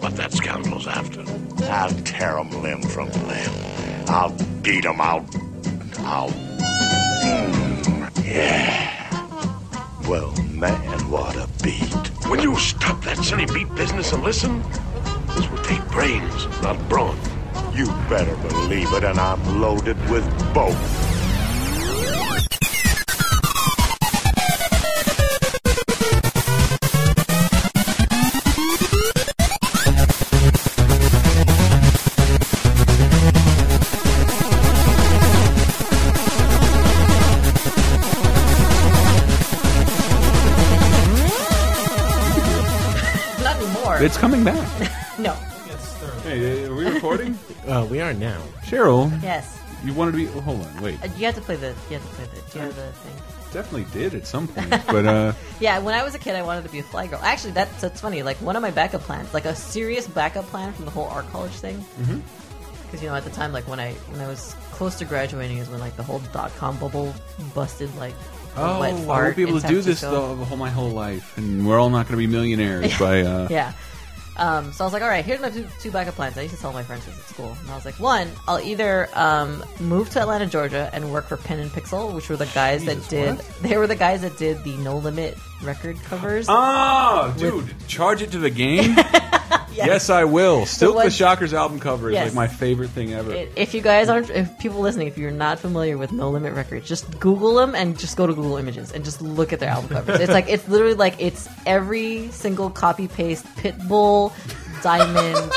what that scoundrel's after. I'll tear him limb from limb. I'll beat him. I'll. I'll. Mm, yeah. Well, man, what a beat. Will you stop that silly beat business and listen? This will take brains, not brawn. You better believe it, and I'm loaded with both. Nothing more. It's coming back. no. Hey, are we recording? Uh, we are now. Cheryl, Yes. you wanted to be. Well, hold on, wait. Uh, You have to play the. You have to play the. Do you have the thing? Definitely did at some point, but uh, Yeah, when I was a kid, I wanted to be a fly girl. Actually, that's that's funny. Like one of my backup plans, like a serious backup plan from the whole art college thing. Mm-hmm. Because you know, at the time, like when I when I was close to graduating, is when like the whole dot com bubble busted. Like a oh, wet I won't fart be in able to San do this the, Francisco. the whole my whole life, and we're all not going to be millionaires by. Uh, Yeah. Um, so I was like, all right, here's my two, two backup plans. I used to tell my friends this at school. And I was like, one, I'll either um, move to Atlanta, Georgia, and work for Pen and Pixel, which were the guys Jesus, that did. what? They were the guys that did the No Limit record covers. Oh, dude, charge it to the game. yes. I will. Still, the one- Shockers album cover is Yes. like my favorite thing ever. It- If you guys aren't, if people listening, if you're not familiar with No Limit Records, just Google them and just go to Google Images and just look at their album covers. it's like it's literally like it's every single copy paste Pitbull, Diamond,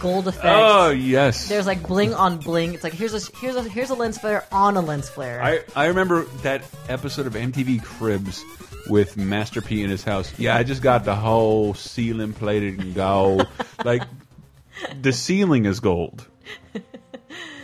Gold Effect. oh yes. There's like bling on bling. It's like here's a here's a here's a lens flare on a lens flare. I, I remember that episode of MTV Cribs with Master P in his house. Yeah, I just got the whole ceiling plated in gold. like the ceiling is gold.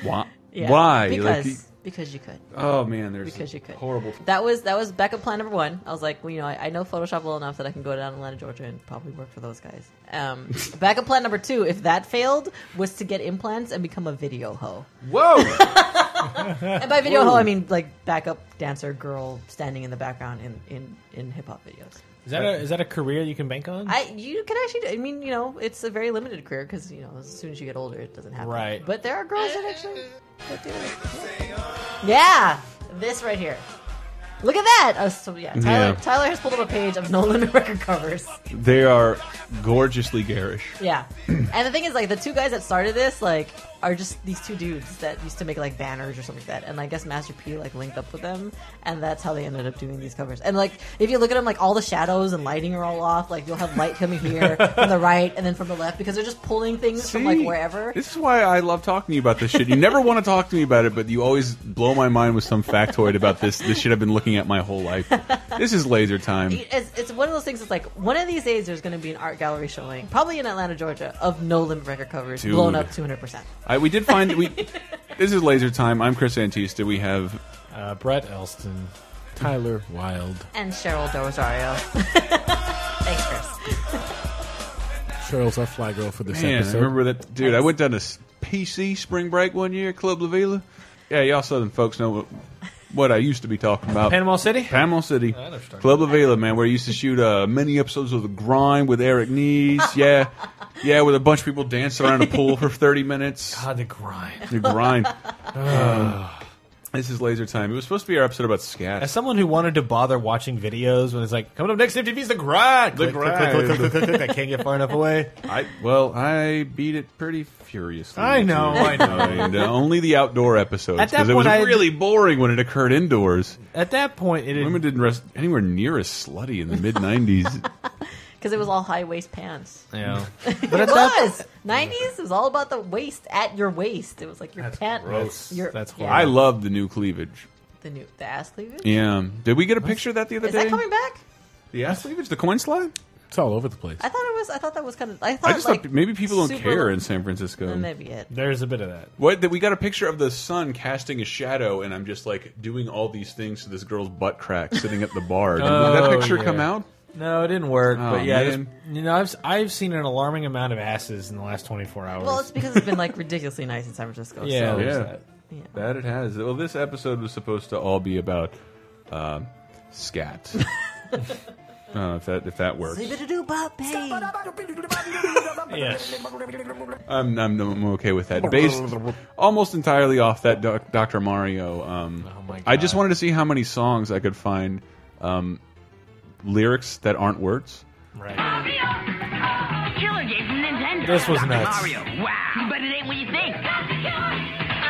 Why? Yeah. Why? Because Like, because you could. oh man, there's Because you could. horrible. That was that was backup plan number one. I was like, well, you know, I, I know Photoshop well enough that I can go down to Atlanta, Georgia, and probably work for those guys. Um, backup plan number two, if that failed, was to get implants and become a video hoe. Whoa! And by video hoe, I mean like backup dancer girl standing in the background in in, in hip hop videos. Is that a, is that a career you can bank on? I you can actually. I mean, you know, it's a very limited career because you know, as soon as you get older, it doesn't happen. Right. But there are girls that actually. That do it. Yeah, this right here. Look at that! Oh, so yeah, Tyler. Yeah. Tyler has pulled up a page of No Limit record covers. they are gorgeously garish. Yeah, and the thing is, like, the two guys that started this, like, are just these two dudes that used to make like banners or something like that. And I guess Master P like linked up with them, and that's how they ended up doing these covers. And like, if you look at them, like all the shadows and lighting are all off. Like, you'll have light coming here from the right, and then from the left because they're just pulling things from like See? wherever. This is why I love talking to you about this shit. You never want to talk to me about it, but you always blow my mind with some factoid about this. This shit I've been looking at my whole life. This is laser time. It's, it's one of those things. It's like one of these days there's going to be an art gallery showing, probably in Atlanta, Georgia, of No Limit record covers Dude. blown up 200. percent I, we did find we. This is laser time. I'm Chris Antista. We have Uh, Brett Elston, Tyler Wilde, And Cheryl Del Rosario. Thanks, Chris. Cheryl's our fly girl for this man. I episode. remember that dude. I went down to s- PC spring break one year, Club La Vila. Yeah, y'all Southern folks know what, what I used to be talking about. Panama City. Panama City, I know what you're Club La Vila, man, where I used to shoot uh, many episodes of The Grind with Eric Nees. Yeah, yeah, with a bunch of people dancing around a pool for 30 minutes. Ah, the grind. The Grind. Um, this is laser time. It was supposed to be our episode about scat. As someone who wanted to bother watching videos when it's like coming up next MTV's the grind. The click, click, click, grind. click, click, click, click, I can't get far enough away. I well, I beat it pretty furiously. I know, too. I know. And, uh, only the outdoor episodes At that because it was point, I- really boring when it occurred indoors. At that point, it Women had, didn't rest anywhere near as slutty in the mid '90s. Because it was all high waist pants. you know, But it was 90s. It was all about the waist at your waist. It was like your That's pant. gross. Your, That's yeah, I love the new cleavage. the new the ass cleavage. Yeah, did we get a picture of that the other Is day? that coming back? The ass cleavage, the coin slide. it's all over the place. I thought it was. I thought that was kind of. I thought I just like, thought maybe people don't super- care in San Francisco. That may be it. There's a bit of that. What that we got a picture of the sun casting a shadow, and I'm just like doing all these things to this girl's butt crack sitting at the bar. Did that Oh, picture yeah. come out? No, it didn't work. Oh, but yeah, man. just- you know, I've I've seen an alarming amount of asses in the last 24 hours. Well, it's because it's been like ridiculously nice in San Francisco. yeah, so, there's Yeah. that. yeah. That it has. Well, this episode was supposed to all be about um, scat. uh, if that if that works. Zibididoo-bop-bang. Yes. I'm, I'm, I'm okay with that. Based almost entirely off that doc, Dr. Mario. Um, Oh my I just God. wanted to see how many songs I could find um, lyrics that aren't words. Right. Killer gave from Nintendo. This was Dr. nuts. Mario. Wow. But it ain't what you think.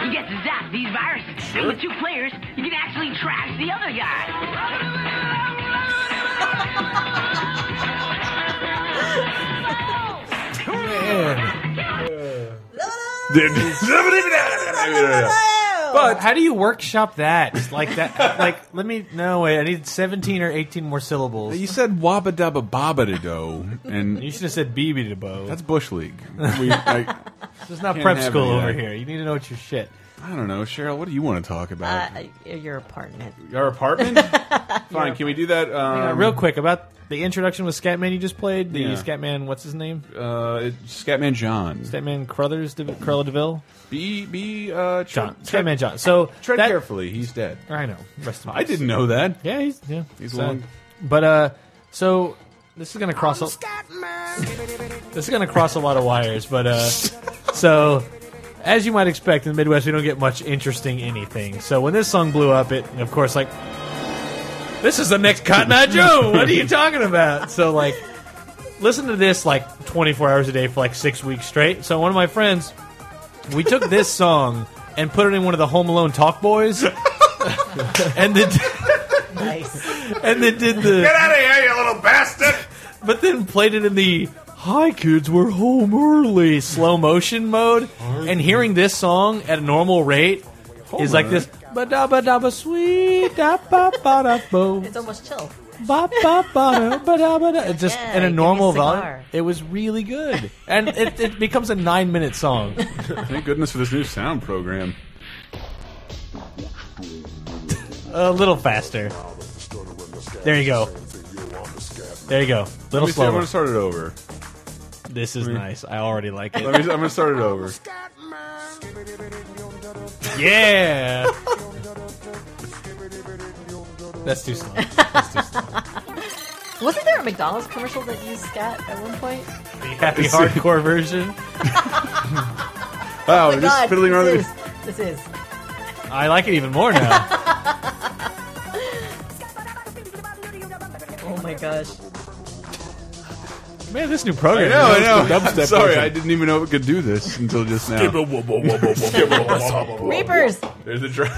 You get to zap these viruses. And with two players, you can actually trash the other guy. Man. but How do you workshop that? Like that? Like, let me. No, wait. I need seventeen or eighteen more syllables. you said wabba dabba baba do, You and should have said BB to Bo. that's Bush League. We, I, This is not Can't prep have school any of over that. here. You need to know what your shit. I don't know, Cheryl. What do you want to talk about? Uh, your apartment. Our apartment? Fine, can we do that? Uh, Um, real quick about the introduction with Scatman you just played. The Yeah. Scatman, what's his name? uh, it's Scatman John. Scatman Crothers, De- Cruella Deville, Be be uh, tre- John. tre- Scatman John. So Tread that- carefully. He's dead. I know. Rest in I peace. didn't know that. Yeah, he's yeah. He's Sad. long. But uh, so this is gonna cross. A, this is gonna cross a lot of wires. But uh, so as you might expect in the Midwest, we don't get much interesting anything. So when this song blew up, it of course like this is the next Cotton Eye Joe. What are you talking about? So like. Listen to this like 24 hours a day for like six weeks straight. So one of my friends, we took this song and put it in one of the Home Alone Talk Boys, and then Nice. and then did the out of here, you little bastard! but then played it in the hi kids we're home early slow motion mode and hearing this song at a normal rate is like this ba da ba da ba sweet da ba ba da bo It's almost chill. ba ba ba da ba da ba da It's just Yeah, in give a me a normal cigar. volume it was really good and it, it becomes a nine minute song Thank goodness for this new sound program. a little faster there you go there you go Let me see, little I'm slower gonna start it over. this is nice I already like it Let me, I'm gonna start it over. Yeah. That's too slow. Wasn't there a McDonald's commercial that used scat at one point? The happy hardcore version. Wow, Oh, just God, fiddling around. this with- is, this is. I like it even more now. Oh my gosh. Man, this new program. No, I know. Dubstep I'm sorry, version. I didn't even know it could do this until just now. Reapers! There's a drum.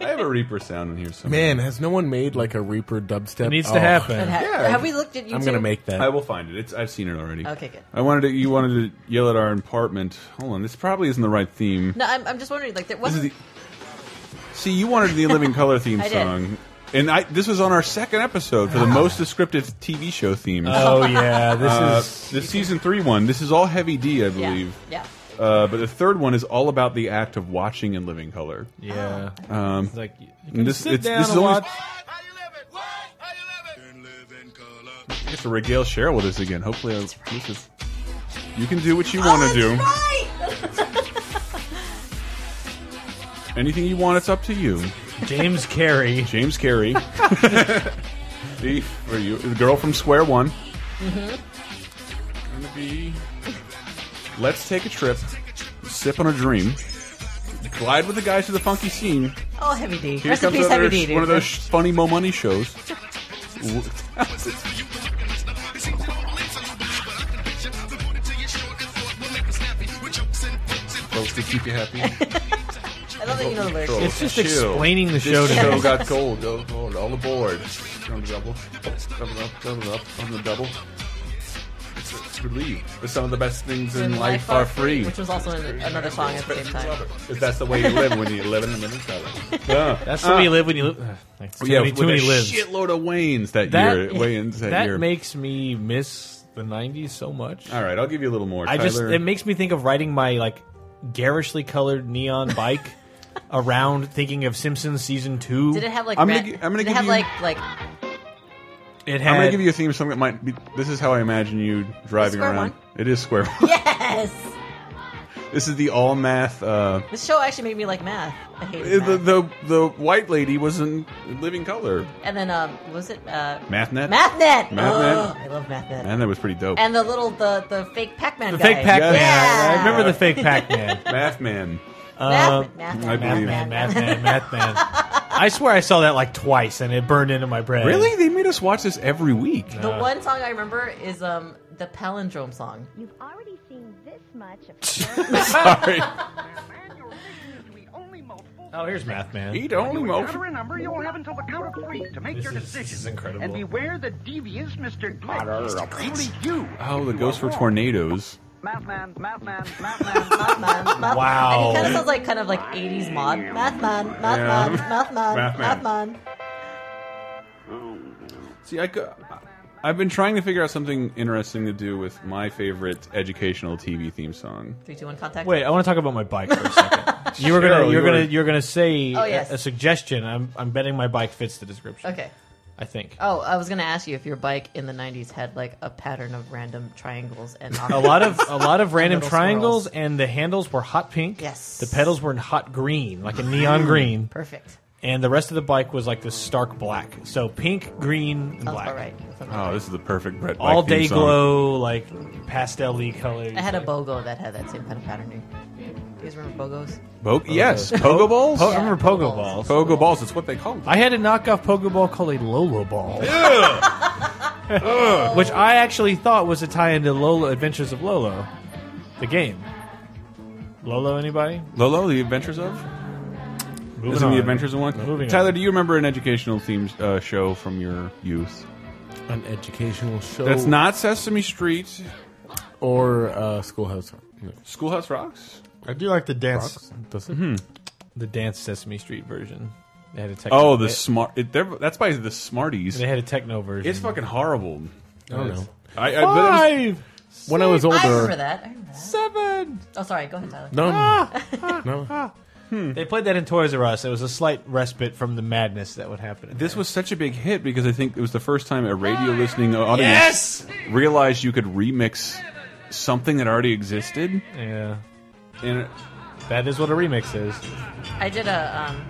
I have a Reaper sound in here somewhere. Man, has no one made like a Reaper dubstep? It needs Oh, to happen. Ha- Yeah. Have we looked at YouTube? I'm gonna make that. I will find it. It's I've seen it already. Okay, good. I wanted to. You wanted to yell at our apartment. Hold on, this probably isn't the right theme. No, I'm, I'm just wondering, like, there This is wasn't. the. See, you wanted the Living Color theme I did. Ah. song, and I. This was on our second episode for the most descriptive TV show themes. Oh yeah, this Uh, is the season three one. This is all Heavy D, I yeah, believe. yeah. Uh, but the third one is all about the act of watching and living color. yeah. Um, It's like you can and this, sit it's, down this is and always, watch. I guess to regale Cheryl with this again. Hopefully, I, this is, you can do what you Oh, want to do. Anything you want, it's up to you. James Carey. James Carey, the, or you, the girl from Square One. Gonna be. Let's take a trip, sip on a dream, glide with the guys to the funky scene. Oh, Heavy D. Here Rest in comes peace, another Heavy sh- D, dude. one of those sh- funny Mo Money shows. W- Folks, to keep you happy. I love that you know the lyrics. It's just Chill. explaining the This show to me. got gold. Go- gold. All aboard. On the double. Double up. Double up. On the double. It's it's relief. But some of the best things in, life, are free. Which was also in another song at the same time. If that's the way you live when you live in the middle of it. Yeah. That's the way you live when you live. Ugh, thanks. Too many, Uh, with too many a lives. shitload of Waynes that, That- year. Wayans that, year. That makes me miss the '90s so much. All right, I'll give you a little more. I Tyler, just it makes me think of riding my like garishly colored neon bike around, thinking of Simpsons season two. Did it have like? I'm gonna red- gi- I'm gonna did give it have you- like like It had. I'm gonna give you a theme song that might be. This is how I imagine you driving Square around. One. It is square. yes. This is the all math. Uh, This show actually made me like math. I hated the, math. the the white lady was in Living Color. and then um, what was it uh, MathNet. MathNet? MathNet. Ugh, I love MathNet. Man, that was pretty dope. And the little the the fake Pac-Man The guy. fake Pac Man. Yeah. I remember the fake Pac Man. Math Man. Oh, Math, Uh, I math, believe Math it. Man, Math Man, Math Man. I swear I saw that like twice and it burned into my brain. Really? They made us watch this every week. The one song I remember is um the palindrome song. You've already seen this much of Sorry. Oh, here's Math Man. Eat only milk. Cover a number, you'll have until the count of three to make This your is- this decision. is incredible. And beware the devious Mr. Glitch. Only you. Oh, if the you Ghost are for wrong. Tornadoes. Math man, math man, math man. Math man, math Wow. Man. And it kind of sounds like kind of like 80s mod. Math man, math man, Yeah. math man, Math math man. man. See, I could. I've been trying to figure out something interesting to do with my favorite educational TV theme song. Three, two, one, contact. Wait, oh. I want to talk about my bike for a second. You were Cheryl, gonna, you you were gonna, were- you were gonna say Oh, yes. a, a suggestion. I'm, I'm betting my bike fits the description. Okay. I think Oh, I was gonna ask you if your bike in the 90s had like a pattern of random triangles and a lot of, a lot of random Little triangles, squirrels. and the handles were hot pink. Yes. The pedals were in hot green, like a neon Mm. green, perfect. and the rest of the bike was like this stark black. So pink, green, and Sounds black. about right. Sounds about Oh, right. this is the perfect Brett. Bike All theme day song. glow, like pastel-y colors. I had a BOGO that had that same kind of patterning. You guys remember BOGOs? Bo- yes, pogo balls. Po- I remember Yeah, pogo pogo balls. balls. pogo balls. It's what they call them. I had a knockoff Pokeball called a Lola Ball. Which I actually thought was a tie into Lola Adventures of Lolo, the game. Lolo, anybody? Lolo, the Adventures of. Moving Isn't on. the Adventures of one? Moving Tyler, on. do you remember an educational themed uh, show from your youth? An educational show. That's not Sesame Street. or uh, schoolhouse. No. Schoolhouse Rocks. I do like the dance. Does Mm-hmm. it? the Dance Sesame Street version. They had a techno. Oh, the they, smart. It, they're- that's by the Smarties. they had a techno version. It's fucking horrible. I don't know. I, I, but it was- When I was I remember older, that. I remember that. seven. Oh, sorry. Go ahead, Tyler. no, no. Hmm. They played that in Toys R Us. It was a slight respite from the madness that would happen. in this there. was such a big hit because I think it was the first time a radio listening audience yes. realized you could remix something that already existed. Yeah, And it- that is what a remix is. Uh, I did a um,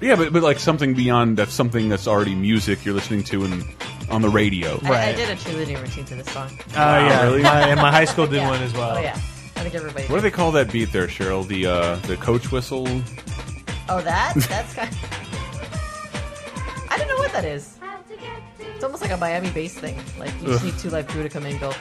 yeah, but, but like something beyond that's something that's already music you're listening to and on the radio. I- I Right. did a cheerleading routine to this song. Oh yeah, really? my, and my high school did one as well. Oh yeah, I think everybody. What do they call that beat there, Cheryl? The uh, the coach whistle. Oh, that? That's kind of. I don't know what that is. It's almost like a Miami bass thing. Like, you just need Two Life Crew to come in and go,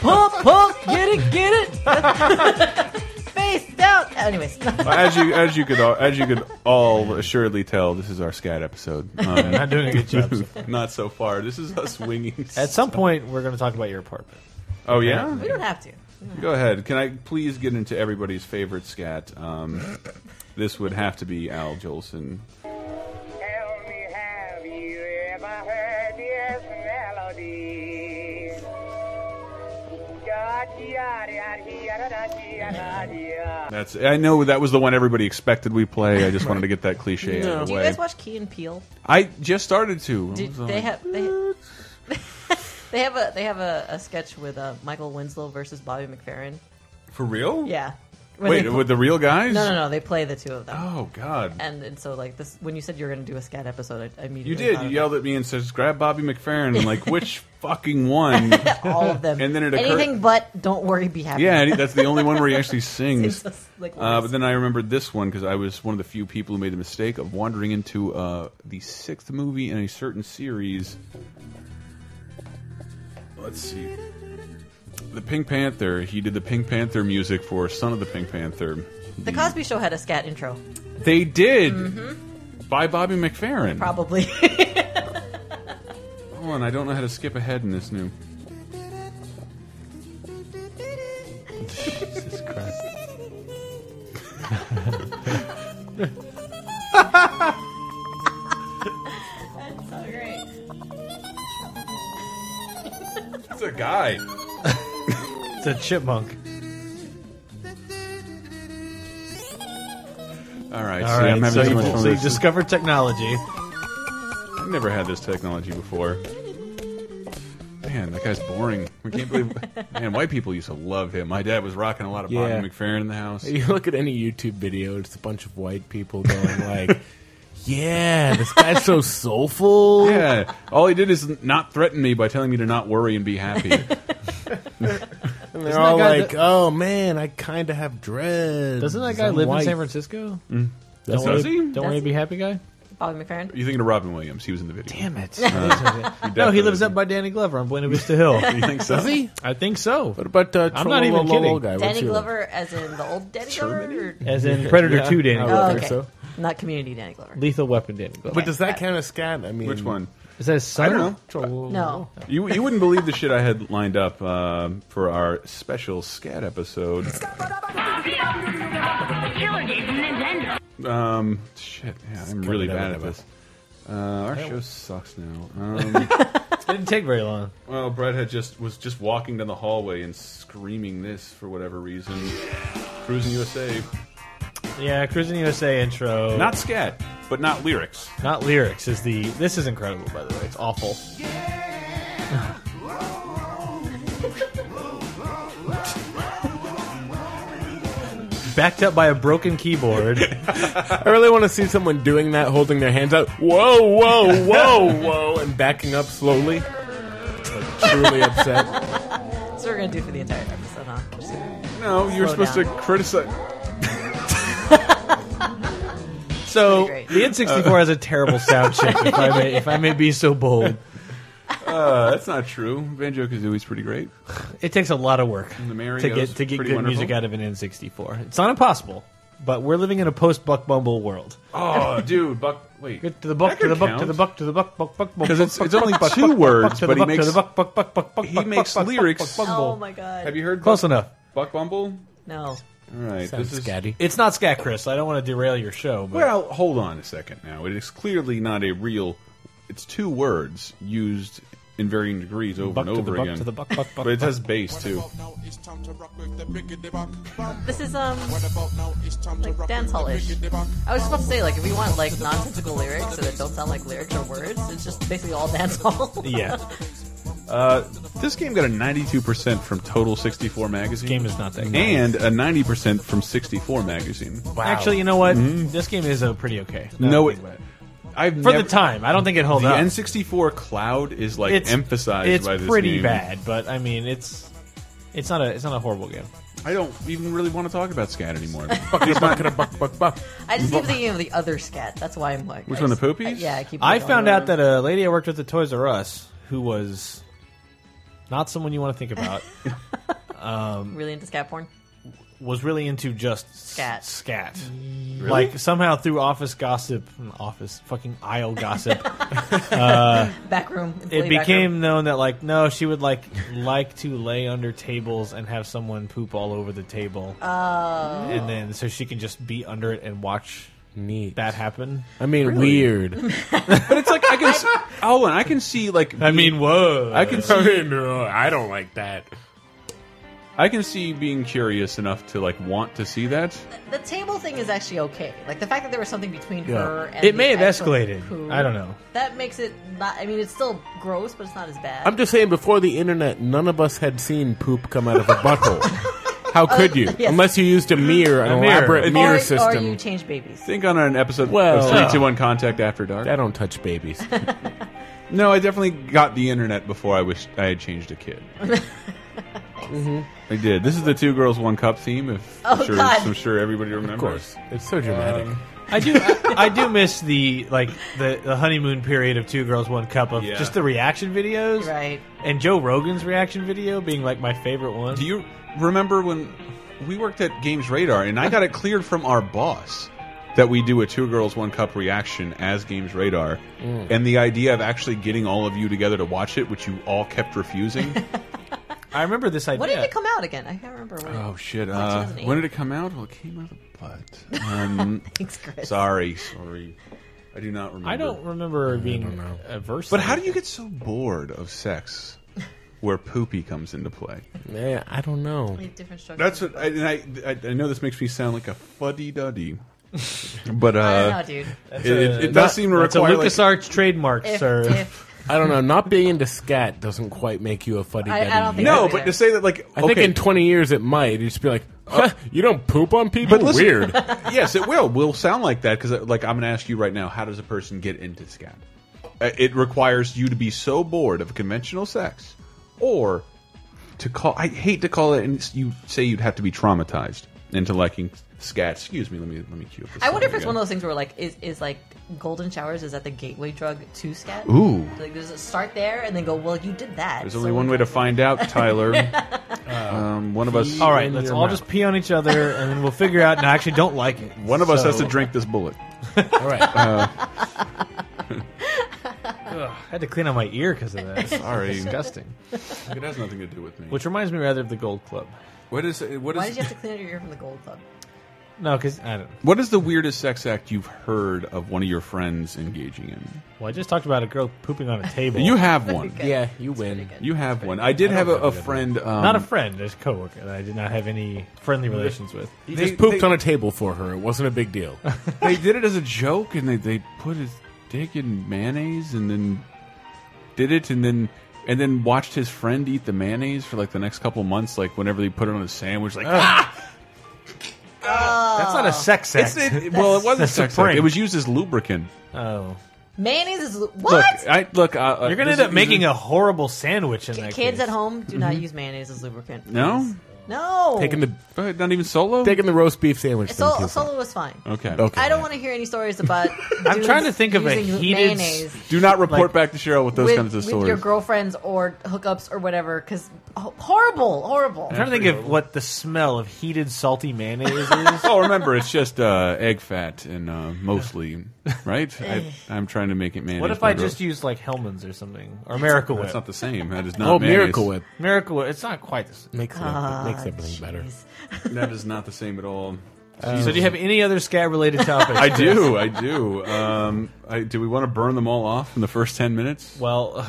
pump, pump, get it, get it. Face down. Anyways, as you as you could all, as you could all assuredly tell, this is our scat episode. Um, Not doing a good job. so- not so far. This is us winging. At some point, we're going to talk about your apartment. oh yeah. we don't have to. Go ahead. Can I please get into everybody's favorite scat? Um, this would have to be Al Jolson. Tell me, have you ever heard this melody? That's. I know that was the one everybody expected we play. I just wanted to get that cliche out Do of the you way. guys watch Key and Peele? I just started to. Did they have. They, They have a they have a, a sketch with uh, Michael Winslow versus Bobby McFerrin. for real? Yeah. When Wait, they- with the real guys? no, no, no. They play the two of them. Oh God. And, and so like this, when you said you were going to do a scat episode, I, I immediately You did. thought You of yelled at me and says, "Grab Bobby McFerrin." I'm like, which fucking one? all of them. And then it occurred- anything but don't worry, be happy. yeah, that's the only one where he actually sings. It's just, like, Uh, but then I remembered this one because I was one of the few people who made the mistake of wandering into uh, the sixth movie in a certain series. Let's see. The Pink Panther. He did the Pink Panther music for Son of the Pink Panther. the Mm-hmm. Cosby Show had a scat intro, They did! By Bobby McFerrin. probably. Hold on, I don't know how to skip ahead in this new. Jesus Christ. It's a guy. It's a chipmunk. All right, All see, right, I'm having so, so you, much fun so with you this. discovered technology. I've never had this technology before. Man, that guy's boring. I can't believe, man, white people used to love him. My dad was rocking a lot of Yeah. Bobby McFerrin in the house. You look at any YouTube video, it's a bunch of white people going like, "Yeah, this guy's so soulful." Yeah, all he did is not threaten me by telling me to not worry and be happy. and they're that all guy like, the- "Oh man, I kind of have dread." Doesn't that guy live in San Francisco? Does wanna- he? Don't want Does to be happy guy. Bobby McFerrin. You thinking of Robin Williams? He was in the video. Damn it! He no, he definitely lives was up in- by Danny Glover on Buena Vista Hill. You think so? he? I think so. What about uh, I'm not even Trolololol kidding. Guy? What's Danny he like? Glover, as in the old Danny Glover, or, As in Predator Yeah. 2 Danny I would Glover. Oh, think okay. so. not Community Danny Glover. Lethal Weapon Danny Glover. But does that count as scat? I mean, Which one? Is that his son? I don't know. Trolololol. No, You you wouldn't believe the shit I had lined up um, for our special scat episode. Killer game from Nintendo. Um, shit, yeah, I'm really it out bad of at us. this. Uh, our show sucks now. Um, Didn't take very long. well, Brett had just was just walking down the hallway and screaming this for whatever reason. Cruising USA, Yeah, Cruising USA intro. not scat, but not lyrics. not lyrics is the. This is incredible, by the way. It's awful. Backed up by a broken keyboard. I really want to see someone doing that, holding their hands out. Whoa, whoa, whoa, whoa, and backing up slowly. Like, truly upset. that's what we're gonna do for the entire episode, huh? Just- No, you were Slow supposed down. to criticize. So Pretty the N64 has a terrible sound chip, if I may, if I may be so bold. Uh, that's not true. Banjo Kazooie's pretty great. It takes a lot of work And the Mario's to get to get pretty good wonderful. music out of an N64. It's not impossible, but we're living in a post Buck Bumble world. Oh, dude, Buck. Wait, Get to the buck, That to the could buck, count. to the buck, to the buck, buck, buck, buck. 'Cause it's- buck, it's buck, only buck, two buck, buck, words, buck, to but the he buck, to makes- the buck, buck, buck, buck, buck, he buck, makes buck, buck, lyrics. buck, buck, Oh bumble. my god. Have you heard Close Buck, enough. Buck Bumble? No. All right, Sounds this is scatty. It's not scat, Chris. I don't want to derail your show, but Well, hold on a second now. It is clearly not a real. It's two words used in varying degrees over buck and to the over buck, again. to the buck, buck, buck. but it has bass too. This is um like dance hall-ish. I was just about to say like if we want like nonsensical lyrics so that don't sound like lyrics or words, it's just basically all dance hall. yeah, Uh, this game got a 92% from Total 64 magazine. game is not that. good. and a 90% from 64 magazine. Actually, you know what? This game is uh, pretty okay. Now Mm-hmm. No, that I it- think about I've for never, the time. I don't think it holds The up. N64 cloud is like it's emphasized It's by this pretty game. bad, but I mean, it's it's not a it's not a horrible game. I don't even really want to talk about scat anymore. Buck, buck, buck, buck, buck. I just keep thinking of the other scat. That's why I'm like Which I one, the just- poopies? I- yeah, I keep I going found over out that a lady I worked with at Toys R Us who was not someone you want to think about them. really into scat porn. was really into just s- Scat. Scat. Like somehow through office gossip, office fucking aisle gossip, Back room. it employee back room. became known that like no, she would like like to lay under tables and have someone poop all over the table. Oh. And then so she can just be under it and watch Neat. that happen. I mean, weird. but it's like I can. s- Oh, and I can see like I mean, whoa. I can I see mean, no, I don't like that. I can see being curious enough to like want to see that. the table thing is actually okay. Like the fact that there was something between Yeah. her and It the may have actual escalated. poo, I don't know. That makes it not. I mean, it's still gross, but it's not as bad. I'm just saying, before the internet, none of us had seen poop come out of a butthole. How could you? yes. Unless you used a mirror, an A mirror. elaborate Or- mirror or, or system. you change babies. Think on an episode Well- of Three Two One Contact After Dark. I don't touch babies. No, I definitely got the internet before I was I had changed a kid. I did. This is the two girls one cup theme. If I'm Mm-hmm. Oh, sure, God. I'm sure everybody remembers. Of course, it's so dramatic. I do. I, I do miss the like the, the honeymoon period of two girls, one cup of Yeah. just the reaction videos, Right. And Joe Rogan's reaction video being like my favorite one. Do you remember when we worked at Games Radar and I got it cleared from our boss that we do a two girls one cup reaction as Games Radar, and the idea of actually getting all of you together to watch it, which you all kept refusing. I remember this idea. When did it come out again? I can't remember when. oh shit! Like Uh, 2008. when did it come out? Well, it came out of the butt. Um, Thanks, Chris. sorry, sorry. I do not remember. I don't remember being averse. But to how it. do you get so bored of sex where poopy comes into play? Yeah, I don't know. We have different structures. That's what I, and I, I. I know this makes me sound like a fuddy duddy, but uh, I don't know, dude. uh, it, it, it does seem to It's a require. like- LucasArts trademark, If, sir. if I don't know. Not being into scat doesn't quite make you a fuddy I- I duddy. don't think No, Yeah. but to say that, like, I okay, Uh, think in 20 years it might. You'd just be like, huh, you don't poop on people? But listen- Weird. yes, it will. Will sound like that because, like, I'm going to ask you right now: How does a person get into scat? Uh, It requires you to be so bored of conventional sex, or to call. I hate to call it, and it's- you say you'd have to be traumatized into liking scat. Excuse me. Let me let me cue up this. I wonder if song it's one of again. those things where like is is like golden showers is that the gateway drug to scat? Ooh. Like there's a start there and then go, well you did that. There's only one way to find out, Tyler. um, one of us. All right, let's all just pee on each other, and then we'll figure out. No, I actually don't like it. One of us has So- to drink Uh, this bullet. All right. I had to clean out my ear because of that. Sorry. disgusting. It has nothing to do with me. Which reminds me rather of the Gold Club. what is what Why did you have to clean out your ear from the gold club? No, because I don't. What is the weirdest sex act you've heard of one of your friends engaging in? Well, I just talked about a girl pooping on a table. You have one. good. Yeah, you win. You have one. I did have a, a friend. Um, not a friend, just a coworker that I did not have any friendly relations with. You They- just pooped they- on a table for her. It wasn't a big deal. they did it as a joke, and they they put his dick in mayonnaise, and then did it, and then and then watched his friend eat the mayonnaise for like the next couple months. Like whenever they put it on a sandwich, like ah, That's not a sex act. it's, it, well, it wasn't a That's a sex act. prank. It was used as lubricant. oh, Mayonnaise is what? Look, I look. Uh, uh, you're gonna this end up is- making a horrible sandwich in that. Kids case. at home do not use mayonnaise as lubricant. No? No. Taking the But not even solo. taking the roast beef sandwich. thing Sol- too far. solo was fine. okay. Okay. I don't want to hear any stories about. dudes trying to think of a using heated mayonnaise Do not report Like- back to Cheryl with those with, kinds of with stories. your girlfriends or hookups or whatever because horrible, horrible. I'm trying to think of what the smell of heated salty mayonnaise is. oh, remember, it's just uh, egg fat and uh, mostly, right? I, I'm trying to make it mayonnaise. what if but I gross. just used like Hellman's or something or Miracle Whip? That's not the same. That is not. Oh, mayonnaise. Miracle Whip Miracle Whip. It's not quite. The same. makes it- Ah, makes everything better. jeez. That is not the same at all. so, do you have any other scat related topics? I do. I do. Um, I, do we want to burn them all off in the first ten minutes? Well,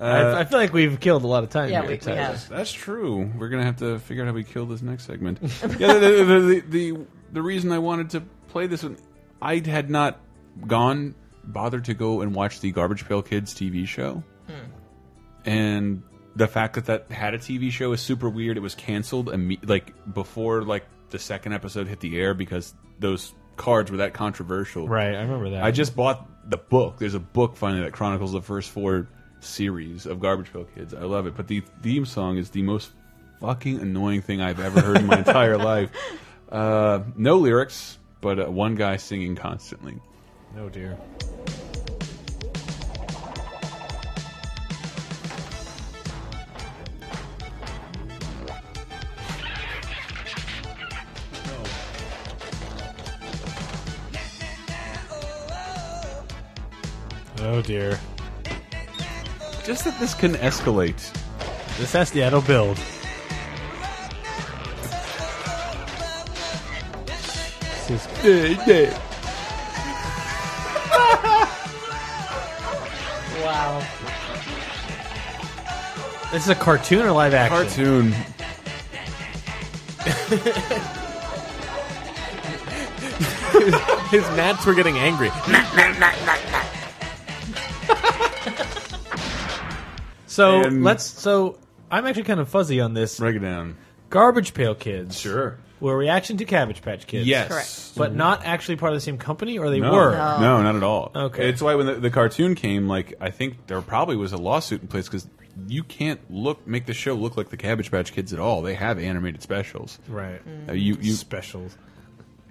I, I feel like we've killed a lot of time. Yeah, here, we, we Tyler. have. That's true. We're gonna have to figure out how we kill this next segment. yeah, the the, the, the the the reason I wanted to play this one, I had not gone bothered to go and watch the Garbage Pail Kids TV show, and the fact that that had a TV show is super weird. It was canceled imme- like before like the second episode hit the air because those cards were that controversial. Right, I remember that. I just bought the book. There's a book finally that chronicles the first four series of Garbage Pail Kids. I love it. But the theme song is the most fucking annoying thing I've ever heard in my entire life. Uh, no lyrics, but uh, one guy singing constantly. Oh dear. Oh dear. Just that this can escalate. This has yeah, it'll build. This is- Wow. this is a cartoon or live action? Cartoon. His gnats were getting angry. So And- let's. So I'm actually kind of fuzzy on this. Break it down. Garbage Pail Kids. Sure. Were a reaction to Cabbage Patch Kids. Yes. Correct. But not actually part of the same company, or they No, were? no. not at all. Okay. it's why when the, the cartoon came, like I think there probably was a lawsuit in place because you can't look make the show look like the Cabbage Patch Kids at all. They have animated specials. Right. Uh, you you Specials.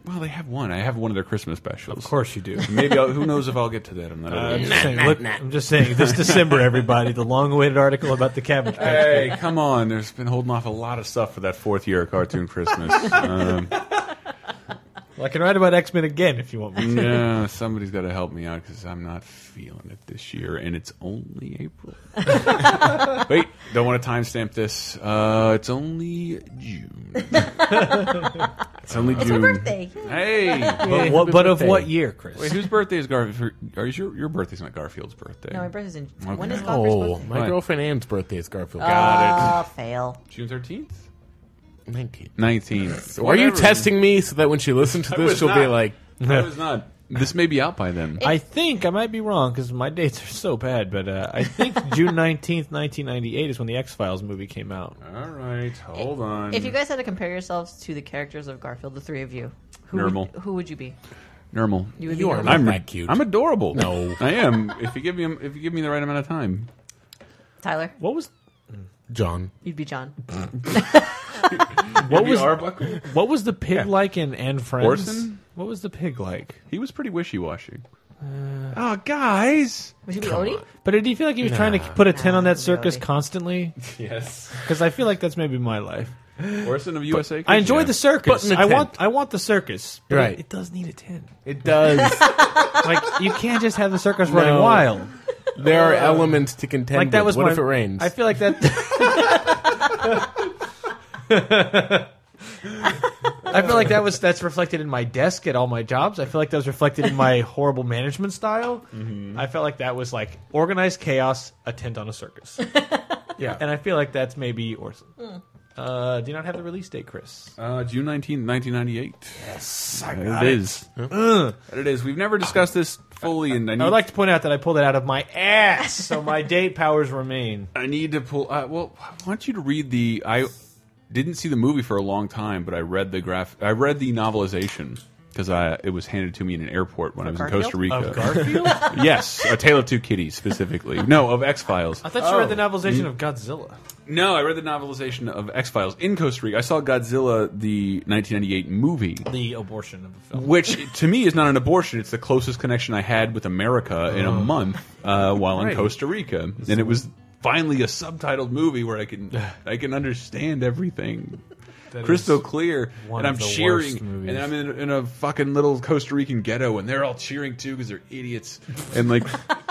well they have one. I have one of their Christmas specials. Of course Uh, you do. Maybe I'll, who knows if I'll get to that on that. I'm, other just saying, look, I'm just saying, this December, everybody, the long-awaited article about the Cabbage Patch. Hey, come on! There's been holding off a lot of stuff for that fourth year of cartoon Christmas. um, Well, I can write about X-Men again if you want me to. yeah, somebody's got to help me out because I'm not feeling it this year, and it's only April. Wait, don't want to timestamp this. Uh, it's only June. it's only June. Birthday. Hey, But, what, but of what year, Chris? Wait, whose birthday is Garfield? Are your your birthday's not Garfield's birthday? No, my birthday's in. Okay. When is Godfrey's Oh, birthday? my Right. girlfriend Anne's birthday is Garfield. Got Ah, fail. it. June thirteenth, 19. nineteenth. Are you testing me so that when she listens to I this, was she'll be not. like, I was not. This may be out by then. I think I might be wrong because my dates are so bad, but uh, I think June nineteenth, nineteen ninety eight, is when the X Files movie came out. All right, hold on. If you guys had to compare yourselves to the characters of Garfield, the three of you, who Normal. Would, who would you be? normal, You would You be are normal. not I'm that cute. I'm adorable. No. I am. If you give me if you give me the right amount of time, Tyler. What was John. You'd be John. what was Arbuckle? what was the pig like in Anne Friends? Orson? What was the pig like? He was pretty wishy washy. oh, guys. Would you be Odie? But did you feel like he was trying to put a ten on Nah, that circus really. constantly? Yes. Because I feel like that's maybe my life. Orson of USA. I enjoy the circus. But in a I 10. want I want the circus. But Right. It, it does need a ten. It does. Like you can't just have the circus running No. wild. there are elements to contend Uh, Like that with. was what my- if it rains? I feel like that. I feel like that was that's reflected in my desk at all my jobs. I feel like that was reflected in my horrible management style. I felt like that was like organized chaos, a tent on a circus, yeah. and I feel like that's maybe Orson. Uh, do you not have the release date, Chris? Uh, June 19, 1998. Yes, I got it is. That it is. We've never discussed this fully, and I need, I would like to point out that I pulled that out of my ass, so my date powers remain. I need to pull. Uh, well, I want you to read the. I didn't see the movie for a long time, but I read the graph. I read the novelization because I it was handed to me in an airport when I was in Costa Rica. Of Garfield? I yes, A Tale of Two Kitties specifically. No, of X Files. thought Oh. you read the novelization of Godzilla. No, I read the novelization of X Files in Costa Rica. I saw Godzilla, the 1998 movie. The abortion of the film. which to me is not an abortion. It's the closest connection I had with America in a month uh, while in Right. Costa Rica, and it was finally a subtitled movie where I can I can understand everything. Crystal clear, one and I'm of the cheering, worst movies. and I'm in, in a fucking little Costa Rican ghetto, and they're all cheering too because they're idiots. And like,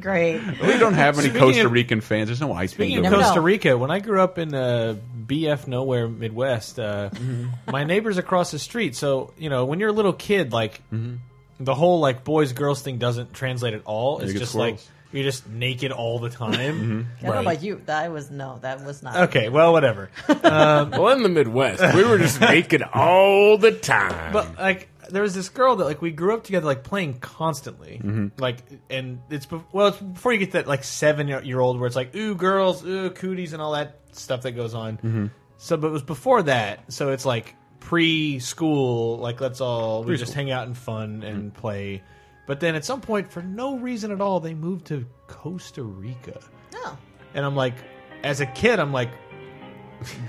Great. we don't have any Speaking Costa of- Rican fans. There's no ice Speaking cream of never over Costa know. Rica, when I grew up in uh, BF nowhere Midwest, uh, Mm-hmm. my neighbors across the street. So you know, when you're a little kid, like Mm-hmm. the whole like boys girls thing doesn't translate at all. It's get just squirrels. Mm-hmm. like you're just naked all the time. I don't know about you. That was no. That was not. okay, well, whatever. well, in the Midwest, we were just naked all the time. But like, there was this girl that like we grew up together, like playing constantly. Like, and it's bef- well, it's before you get that like seven year old where it's like ooh girls, ooh cooties, and all that stuff that goes on. So, but it was before that. So it's like pre-school. Like, let's all we just hang out and fun and play. But then at some point, for no reason at all, they moved to Costa Rica, No. and I'm like, as a kid, I'm like.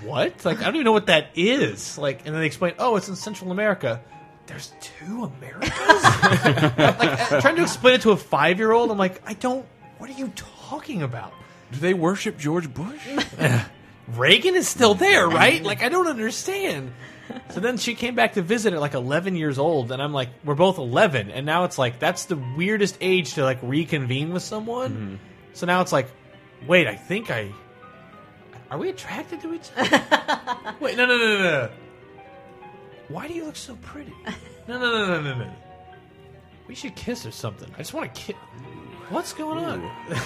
What? Like I don't even know what that is. Like, and then they explain, oh, it's in Central America there's two Americas? like, uh, trying to explain it to a five year old, I'm like, I don't, what are you talking about? Do they worship George Bush? Reagan is still there, right? Like, I don't understand. So then she came back to visit at like 11 years old, and I'm like, we're both 11. And now it's like, that's the weirdest age to like reconvene with someone. So now it's like, wait, I think I. Are we attracted to each other? wait, no, no, no, no, no. Why do you look so pretty? No, no, no, no, no, no. We should kiss or something. I just want to kiss. What's going on?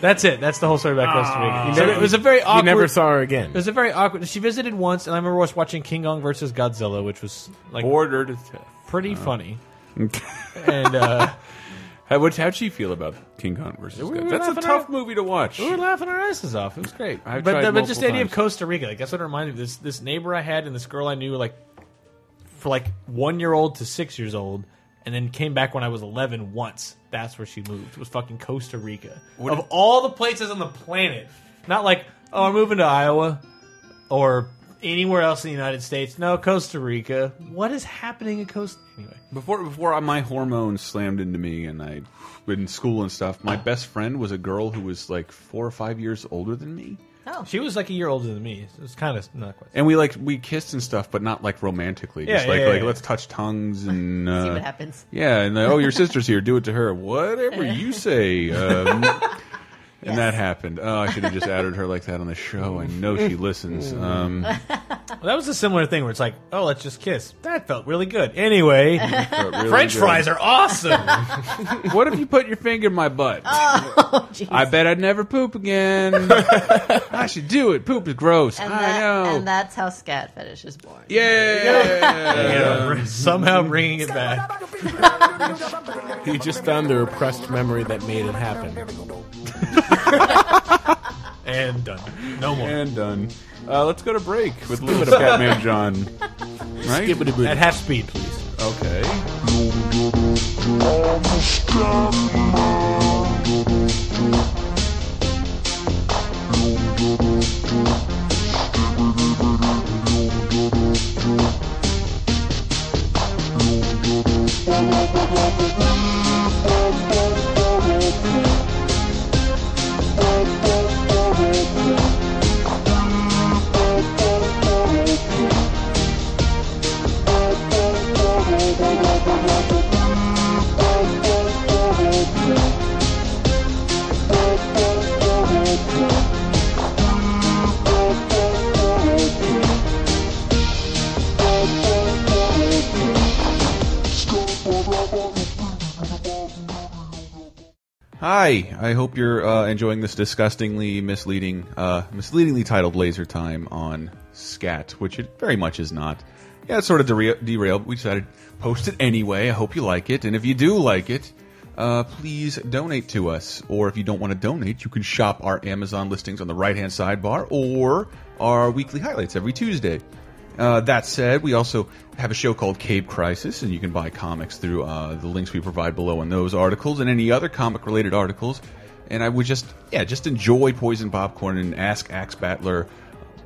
That's it. That's the whole story about Costa Rica. So it was a very Ah. you awkward. never saw her again. It was a very awkward. She visited once, and I remember us watching King Kong versus Godzilla, which was like Order to death. Oh. pretty funny. and uh, How would how'd she feel about King Kong versus? We were God? That's a laughing tough at- movie to watch. we were laughing our asses off. It was great. I've but tried the- but just multiple the idea of times. Costa Rica, like that's what it reminded me. This this neighbor I had and this girl I knew, like for like one year old to six years old, and then came back when I was eleven. Once that's where she moved. It was fucking Costa Rica of all the places on the planet. Not like oh, I'm moving to Iowa or anywhere else in the United States. No, Costa Rica. What is happening in Costa? Anyway, Before before my hormones slammed into me and I in school and stuff, my best friend was a girl who was like four or five years older than me. Oh. she was like a year older than me. It was kind of not quite. And we like we kissed and stuff, but not like romantically. Yeah, Just yeah, like yeah, like yeah. let's touch tongues and uh, See what happens. Yeah, and uh, oh your sister's here, do it to her. Whatever you say. Um, And that happened. Oh, I should have just added her like that on the show. I know she listens. Um, Well, that was a similar thing where it's like, oh, let's just kiss. That felt really good. Anyway, but really French good. fries are awesome. What if you put your finger in my butt? Jeez. I bet I'd never poop again. I should do it. Poop is gross. and, I that, know. and that's how scat fetish is born. yeah. Yeah, somehow bringing it back. He just found the repressed memory that made it happen. And done. No more. and done. Uh, let's go to break with a little bit of Batman John. Right? At half speed, please. Okay. Hi, I hope you're uh, enjoying this disgustingly misleading, uh, misleadingly titled "Laser Time" on Scat, which it very much is not. Yeah, it's sort of dere- derailed. but We decided to post it anyway. I hope you like it, and if you do like it, uh, please donate to us. Or if you don't want to donate, you can shop our Amazon listings on the right-hand sidebar or our weekly highlights every Tuesday. Uh, that said, we also have a show called Cape Crisis, and you can buy comics through uh, the links we provide below in those articles and any other comic-related articles. And I would just, yeah, just enjoy Poison Popcorn and Ask Axe Battler.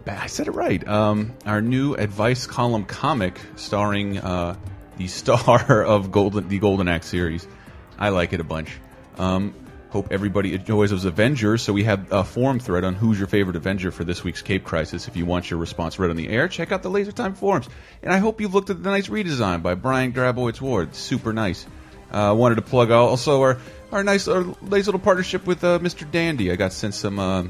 Ba- I said it right. Um, our new advice column comic starring uh, the star of Golden, the Golden Axe series. I like it a bunch. Um, hope everybody enjoys those Avengers. So we have a forum thread on who's your favorite Avenger for this week's Cape Crisis. If you want your response read on the air, check out the Laser Time forums. And I hope you've looked at the nice redesign by Brian Grabowitz Ward. Super nice. I uh, wanted to plug also our our nice, our nice little partnership with uh, Mr. Dandy. I got sent some. Uh,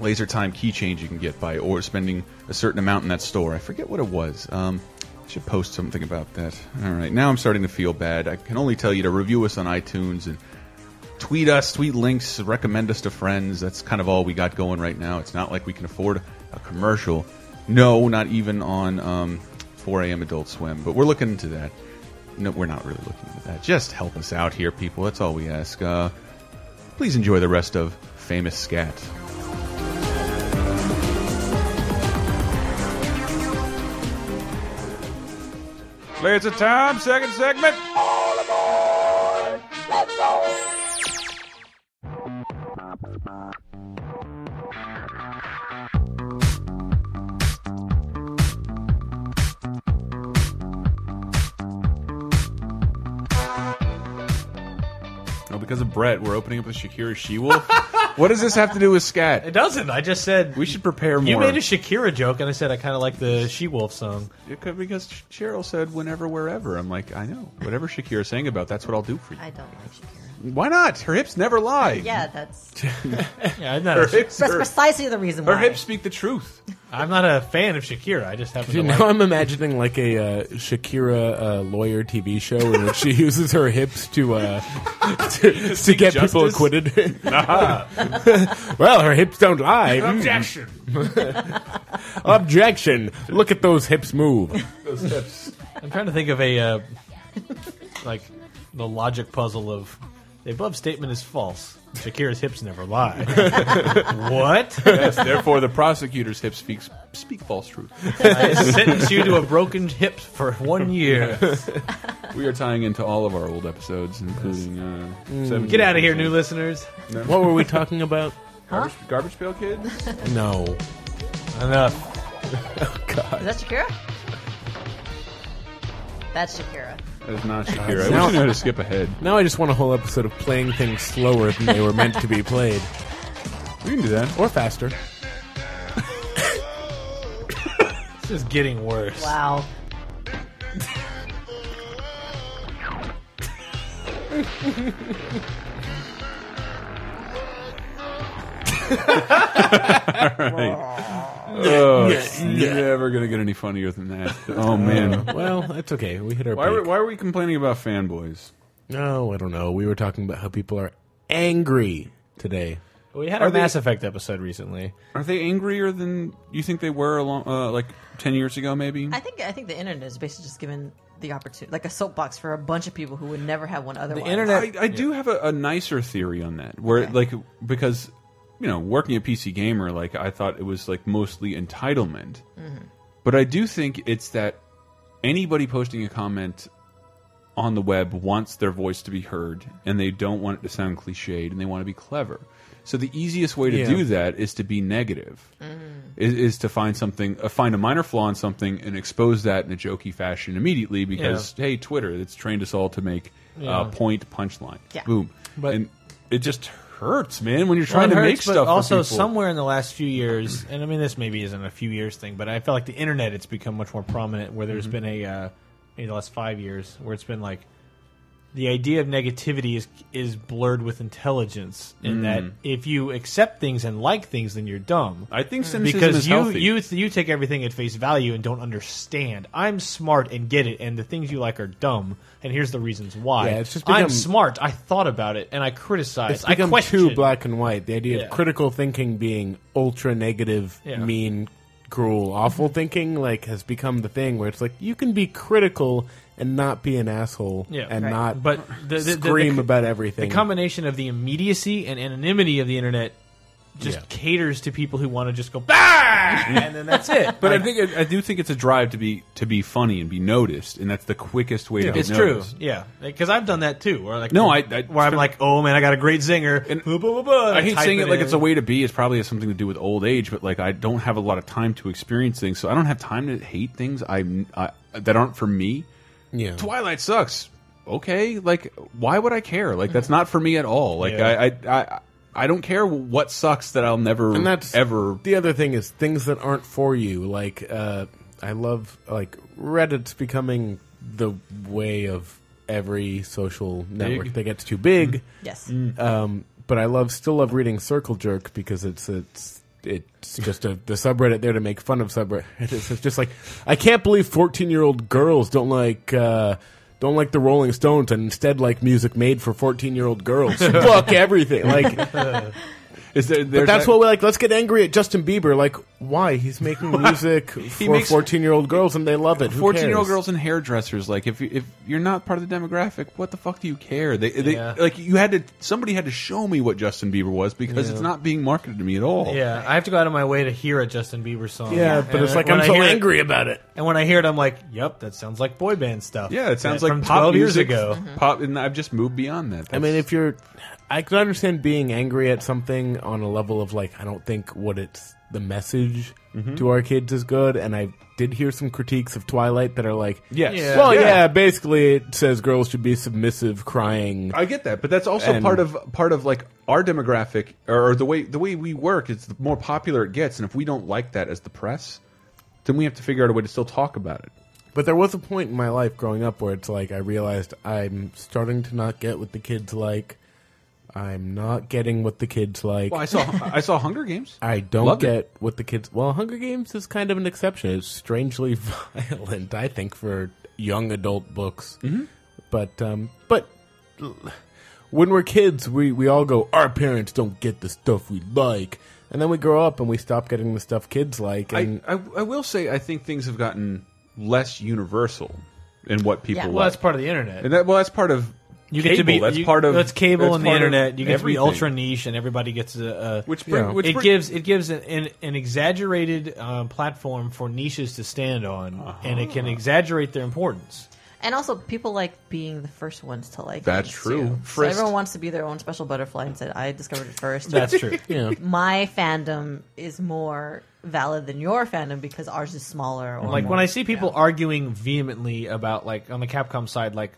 laser time keychains you can get by or spending a certain amount in that store. I forget what it was. Um, I should post something about that. All right, now I'm starting to feel bad. I can only tell you to review us on iTunes and tweet us, tweet links, recommend us to friends. That's kind of all we got going right now. It's not like we can afford a commercial. No, not even on um, 4 a.m. Adult Swim, but we're looking into that. No, we're not really looking into that. Just help us out here, people. That's all we ask. Uh, please enjoy the rest of Famous Scat. It's a time, second segment. Oh, because of Brett, we're opening up with Shakira She-Wolf. what does this have to do with It scat? doesn't. I just said We should prepare more. You made a Shakira joke, and I said I kind of like the She Wolf song. It could- because Cheryl said whenever, wherever. I'm like, I know. Whatever Shakira's saying about, that's what I'll do for you. I don't like Shakira. Why not? Her hips never lie. Yeah, that's Yeah, I'm not. Her A, hips, that's her, precisely the reason why. her hips speak the truth. I'm not a fan of Shakira. I just happen You to know, like. I'm imagining like a uh, Shakira uh, lawyer TV show in which she uses her hips to uh, to, to get people justice? acquitted. well, her hips don't lie. Mm, Objection. Objection! Look at those hips move. Those hips. I'm trying to think of a uh, like the logic puzzle of the above statement is false. Shakira's hips never lie. what? Yes, therefore, the prosecutor's hips speaks speak false truth. I sentence you to a broken hip for one year. We are tying into all of our old episodes, including. Uh, Mm. Get out of here, new listeners. What were we talking about? Garbage, garbage Pail Kids? No. Enough. Is that Shakira? That's Shakira. That is not Shakira. I wish No. I knew how to skip ahead. Uh, Now I just want a whole episode of playing things slower than they were meant to be played, We can do that. or faster. It's just getting worse. Wow. Oh, it's never gonna get any funnier than that. Uh. Oh man. well, that's okay. We hit our. Why are, peak. why are we complaining about fanboys? No, I don't know. We were talking about how people are angry today. We had Are a they- Mass Effect episode recently. Are they angrier than you think they were a long, uh, like ten years ago? Maybe. I think I think the internet is basically just given the opportunity, like a soapbox for a bunch of people who would never have one otherwise. internet- I, I do have a, a nicer theory on that, where like because you know working at PC Gamer, like I thought it was like mostly entitlement, but I do think it's that anybody posting a comment on the web wants their voice to be heard, and they don't want it to sound cliched, and they want to be clever. So the easiest way to Yeah. do that is to be negative, is, is to find something, uh, find a minor flaw in something, and expose that in a jokey fashion immediately. Because hey, Twitter, it's trained us all to make Yeah. uh, point punchline. Yeah. Boom. But- and it just hurts, man, when you're trying to Well, it make hurts, stuff. But also, for people. somewhere in the last few years, and I mean, this maybe isn't a few years thing, but I feel like the internet it's become much more prominent. Where Mm-hmm. there's been a uh, maybe the last five years where it's been like the idea of negativity is is blurred with intelligence in that if you accept things and like things, then you're dumb. Mm. I think cynicism Mm. because is you healthy. you th- you take everything at face value and don't understand. I'm smart and get it, and the things you like are dumb. And here's the reasons why. Yeah, it's just I'm become- smart. I thought about it and I criticized. It's I become questioned. too black and white. The idea Yeah. of critical thinking being ultra negative, Yeah. mean, cruel, awful thinking, like has become the thing where it's like you can be critical and not be an asshole Yeah. and Right. not But the- the- the- scream the- about the everything. combination of the immediacy and anonymity of the internet just Yeah. caters to people who want to just go bah! and then that's it. but I think I do think it's a drive to be to be funny and be noticed, and that's the quickest way to get it's true, noticed. yeah, because I've done that too. Where like, No, I- I- where I'm like, oh man, I got a great zinger. And- blah, blah, blah, blah, I hate type saying it like it's a in. way to be. It probably has something to do with old age, but like I don't have a lot of time to experience things, so I don't have time to hate things I, I that aren't for me. Yeah. Twilight sucks. Okay, like why would I care? Like that's not for me at all. Like Yeah. I, I I I don't care what sucks that I'll never and that's ever. the other thing is things that aren't for you like uh, i love like reddit's becoming the way of every social network that gets too big yes, Mm. um, but i love still love reading circle jerk because it's it's it's just a the subreddit there to make fun of subreddit it's just like i can't believe 14 year old girls don't like uh, don't like the Rolling Stones and instead like music made for 14 year old girls. Fuck everything. Like, Is there, but there's that's that- what we're like. Let's get angry at Justin Bieber. Like, why he's making music for makes- fourteen-year-old girls and they love it. Who Fourteen-year-old cares? girls and hairdressers, like if you- if you're not part of the demographic, what the fuck do you care? They, they Yeah. like you had to somebody had to show me what Justin Bieber was because it's not being marketed to me at all. Yeah, I have to go out of my way to hear a Justin Bieber song. Yeah, but And it's like when I'm I so hear it- angry about it. and when I hear it, I'm like, "Yep, that sounds like boy band stuff." yeah, it sounds From like pop 12 years music, ago. Mm-hmm. Pop, and I've just moved beyond that. I mean, if you're, I can understand being angry at something on a level of like I don't think what it's the message to our kids is good, and I did hear some critiques of Twilight that are like, yes, Yeah. well, yeah, basically it says girls should be submissive, crying. I get that, but that's also And- part of part of like our demographic or, or the way the way we work is the more popular it gets, and if we don't like that as the press, then we have to figure out a way to still talk about it. But there was a point in my life growing up where it's like I realized I'm starting to not get what the kids like. I'm not getting what the kids like. Well, I saw I saw Hunger Games. I don't Loved get it. what the kids. Well, Hunger Games is kind of an exception. It's strangely violent, I think, for young adult books. Mm-hmm. But um, but when we're kids, we we all go. Our parents don't get the stuff we like, and then we grow up and we stop getting the stuff kids like. I, And I I will say I think things have gotten less universal in what people Yeah. like. Well, Well, that's part of the internet. and that well that's part of you cable. get to be that's you- part of that's cable that's and the part of internet. You get everything. to be ultra niche, and everybody gets a, a which bring, Yeah. which it bring- gives it gives an an, an exaggerated uh, platform for niches to stand on, and it can Uh-huh. exaggerate their importance. and also people like being the first ones to like. That's things, true. Too. So First. everyone wants to be their own special butterfly and said, "I discovered it first. That's true. yeah. My fandom is more valid than your fandom because ours is smaller." Or Like when I see people arguing vehemently about like on the Capcom side, like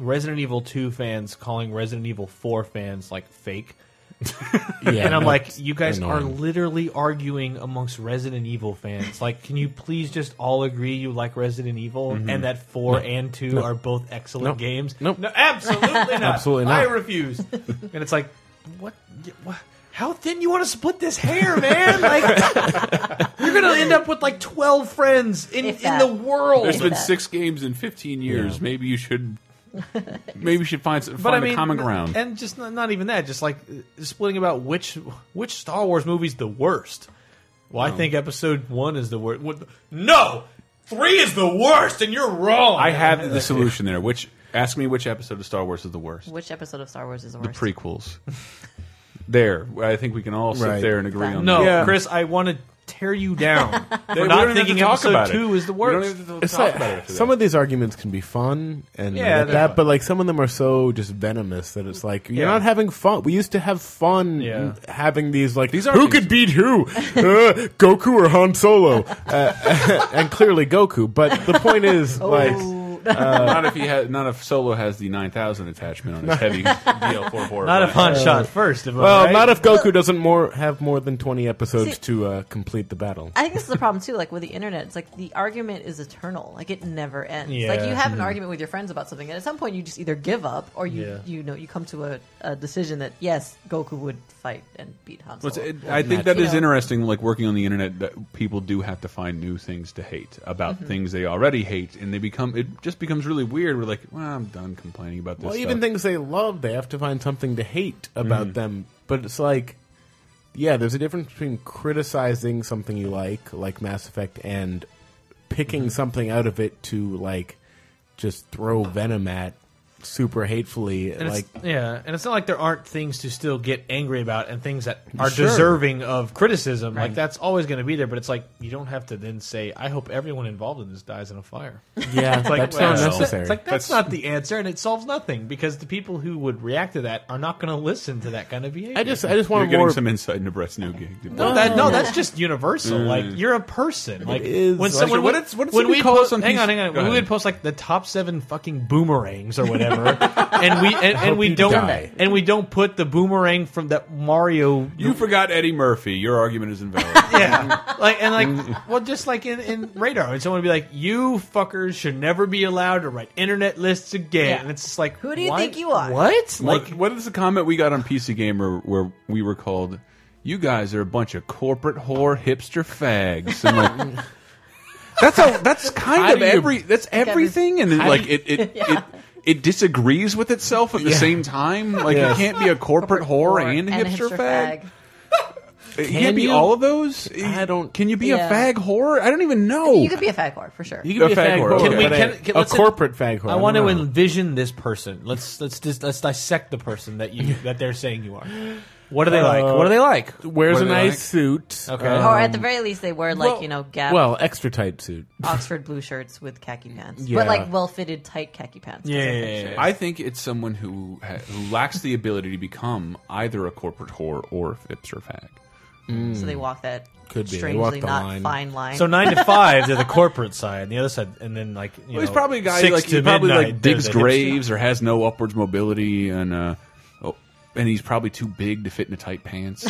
Resident Evil Two fans calling Resident Evil Four fans like fake. yeah, and I'm like, that's you guys are annoying. literally arguing amongst Resident Evil fans. Like, can you please just all agree you like Resident Evil and that four and two are both excellent No. games? Mm-hmm. Nope. No, absolutely not. Absolutely not. I refuse. and it's like, what? y- what? how thin you want to split this hair, man? Like, you're gonna end up with like twelve friends in If in that. the world. There's been that. six games in 15 years. Maybe you should. Maybe you should find some- but find I mean, a common ground. and just not, not even that. Just like uh, splitting about which which Star Wars movie's the worst. Well, I think Episode One is the worst. What, no, three is the worst, and you're wrong. I have the solution there. Which ask me which episode of Star Wars is the worst? Which episode of Star Wars is the The worst? prequels. there, I think we can all sit Right. there and agree on no, that. Yeah. Chris, I want to tear you down We for don't even not have thinking to talk Episode about it. Two is the We don't worst. even have to It's talk like, about it after some that. of these arguments can be fun and Yeah, that, they're but like some of them are so just venomous that it's like you're Yeah. not having fun. We used to have fun Yeah. having these like These who arguments- could beat who, uh, Goku or Han Solo, uh, and clearly Goku. But the point is like. Uh, not if he has, not if Solo has the 9000 attachment on his heavy DL44. Not a fun shot first. If I'm Well, right. not if Goku doesn't more have more than twenty episodes See- to uh, complete the battle. I think this is the problem too. Like with the internet, it's like the argument is eternal. Like it never ends. Yeah. Like you have an argument with your friends about something, and at some point you just either give up or you Yeah. you know you come to a, a decision that yes, Goku would fight and beat Han Well, it's- Solo. it- I think that You is know. interesting. Like working on the internet, that people do have to find new things to hate about Mm-hmm. things they already hate, and they become it just becomes really weird. We're like, well, I'm done complaining about this. Well, stuff. Mm. even things they love, they have to find something to hate about them. But it's like, yeah, there's a difference between criticizing something you like, like Mass Effect, and picking Mm-hmm. something out of it to like just throw venom at super hatefully. And like, it's, yeah, and it's not like there aren't things to still get angry about and things that are Sure. deserving of criticism. Like that's always going to be there, but it's like you don't have to then say, "I hope everyone involved in this dies in a fire." yeah, Like, that's well, not necessary. It's like that's, not the answer, and it solves nothing because the people who would react to that are not going to listen to that kind of behavior. I just, I just you're want getting more. some insight into Brett's new gig. no, that, Oh. no, that's just universal. Like you're a person. Mm. Like is. when Like, someone what would- it's- what it's when like we to call post, some hang piece- on, hang on. Go we ahead. would post like the top seven fucking boomerangs or whatever, and we and, and we you don't die. and we don't put the boomerang from that Mario. you forgot Eddie Murphy. Your argument is invalid. Yeah, Mm. like and like, well, just like in, in Radar, and someone would be like, "You fuckers should never be allowed to write internet lists again." Yeah. And it's just like, Who do you what? think you are? What? Like, what, what is the comment we got on PC Gamer where we were called, "You guys are a bunch of corporate whore hipster fags"? And like, that's a that's kind How of do you- every that's everything, and then, like it it, it it disagrees with itself at the same time. Like you can't be a corporate, whore, Or- and, a hipster, fag. You can't Can be you? all of those. I don't- Can you be Yeah. a fag whore? I don't even know. You could be a fag whore for sure. you could be a a fag fag whore, whore, Can we- but can- a, can- a let's- corporate fag whore. I want to don't know. envision this person. Let's let's just let's dissect the person that you that they're saying you are. What are they like? What are they like? Wears What a do they nice like? suit. Okay. Uh, or at the very least, they wear like you know Gap well, extra tight suit. Oxford blue shirts with khaki pants, Yeah. but like well fitted tight khaki pants. 'cause I Yeah, yeah, think yeah, she- yeah. I think it's someone who ha- who lacks the ability to become either a corporate whore or a hipster fag. So they walk that Could be. They walk strangely the not line. fine line. So nine to five, they're the corporate side, and the other side, and then like you know, Well, he's probably a guy six like to he probably midnight, like they're digs the hipster. graves or has no upwards mobility and uh, oh, and he's probably too big to fit into tight pants.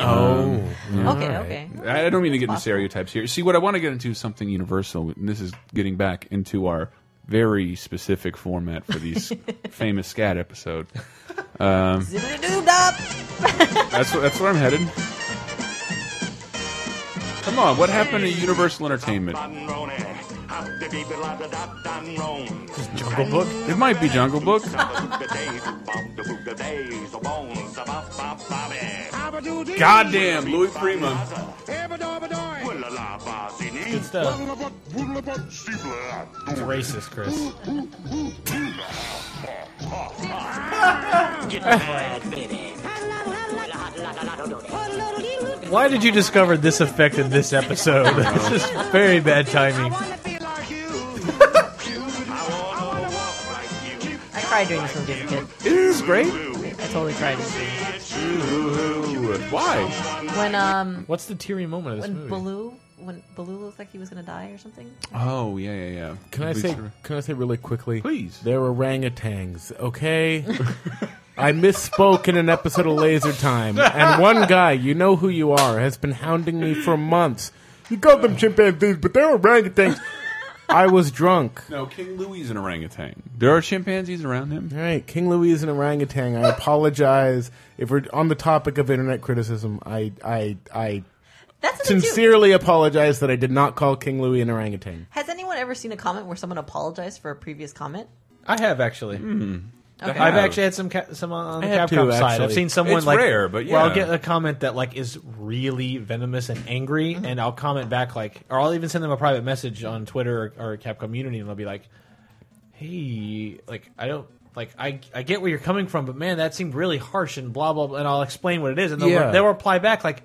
Oh, okay, okay. I I don't mean to get into stereotypes here. See, what I want to get into is something universal, and this is getting back into our very specific format for these famous scat episode. Zibbity-doob up. That's wh- that's where I'm headed. Come on, what happened to Universal Entertainment? Jungle Book. It might be Jungle Book. Goddamn, Louis Prima. Good stuff. It's racist, Chris. Why did you discover this effect in this episode? this is very bad timing. I cried during this movie as a kid. It is great. I totally cried. Why? When um What's the teary moment of this when movie? Baloo when Baloo looked like he was gonna die or something. Oh yeah, yeah, yeah. Can I say? Can I say really quickly? Please. They're orangutans. Okay. I misspoke in an episode of Laser Time, and one guy, you know who you are, has been hounding me for months. You call them chimpanzees, but they're orangutans. I was drunk. No, King Louis is an orangutan. There are chimpanzees around him. All right, King Louis is an orangutan. I apologize if we're on the topic of internet criticism. I I I That's the thing, too. sincerely apologize that I did not call King Louis an orangutan. Has anyone ever seen a comment where someone apologized for a previous comment? I have actually. Okay. I've actually had some ca- some uh, on the I have Capcom too, side. I've actually. seen someone It's like rare, but where I'll yeah. get a comment that like is really venomous and angry, Mm-hmm. and I'll comment back like, or I'll even send them a private message on Twitter or, or Capcom Unity, and they'll be like, "Hey, like I don't." Like I, I get where you're coming from, but man, that seemed really harsh and blah blah. blah and I'll explain what it is, and they'll, Yeah. they'll reply back like,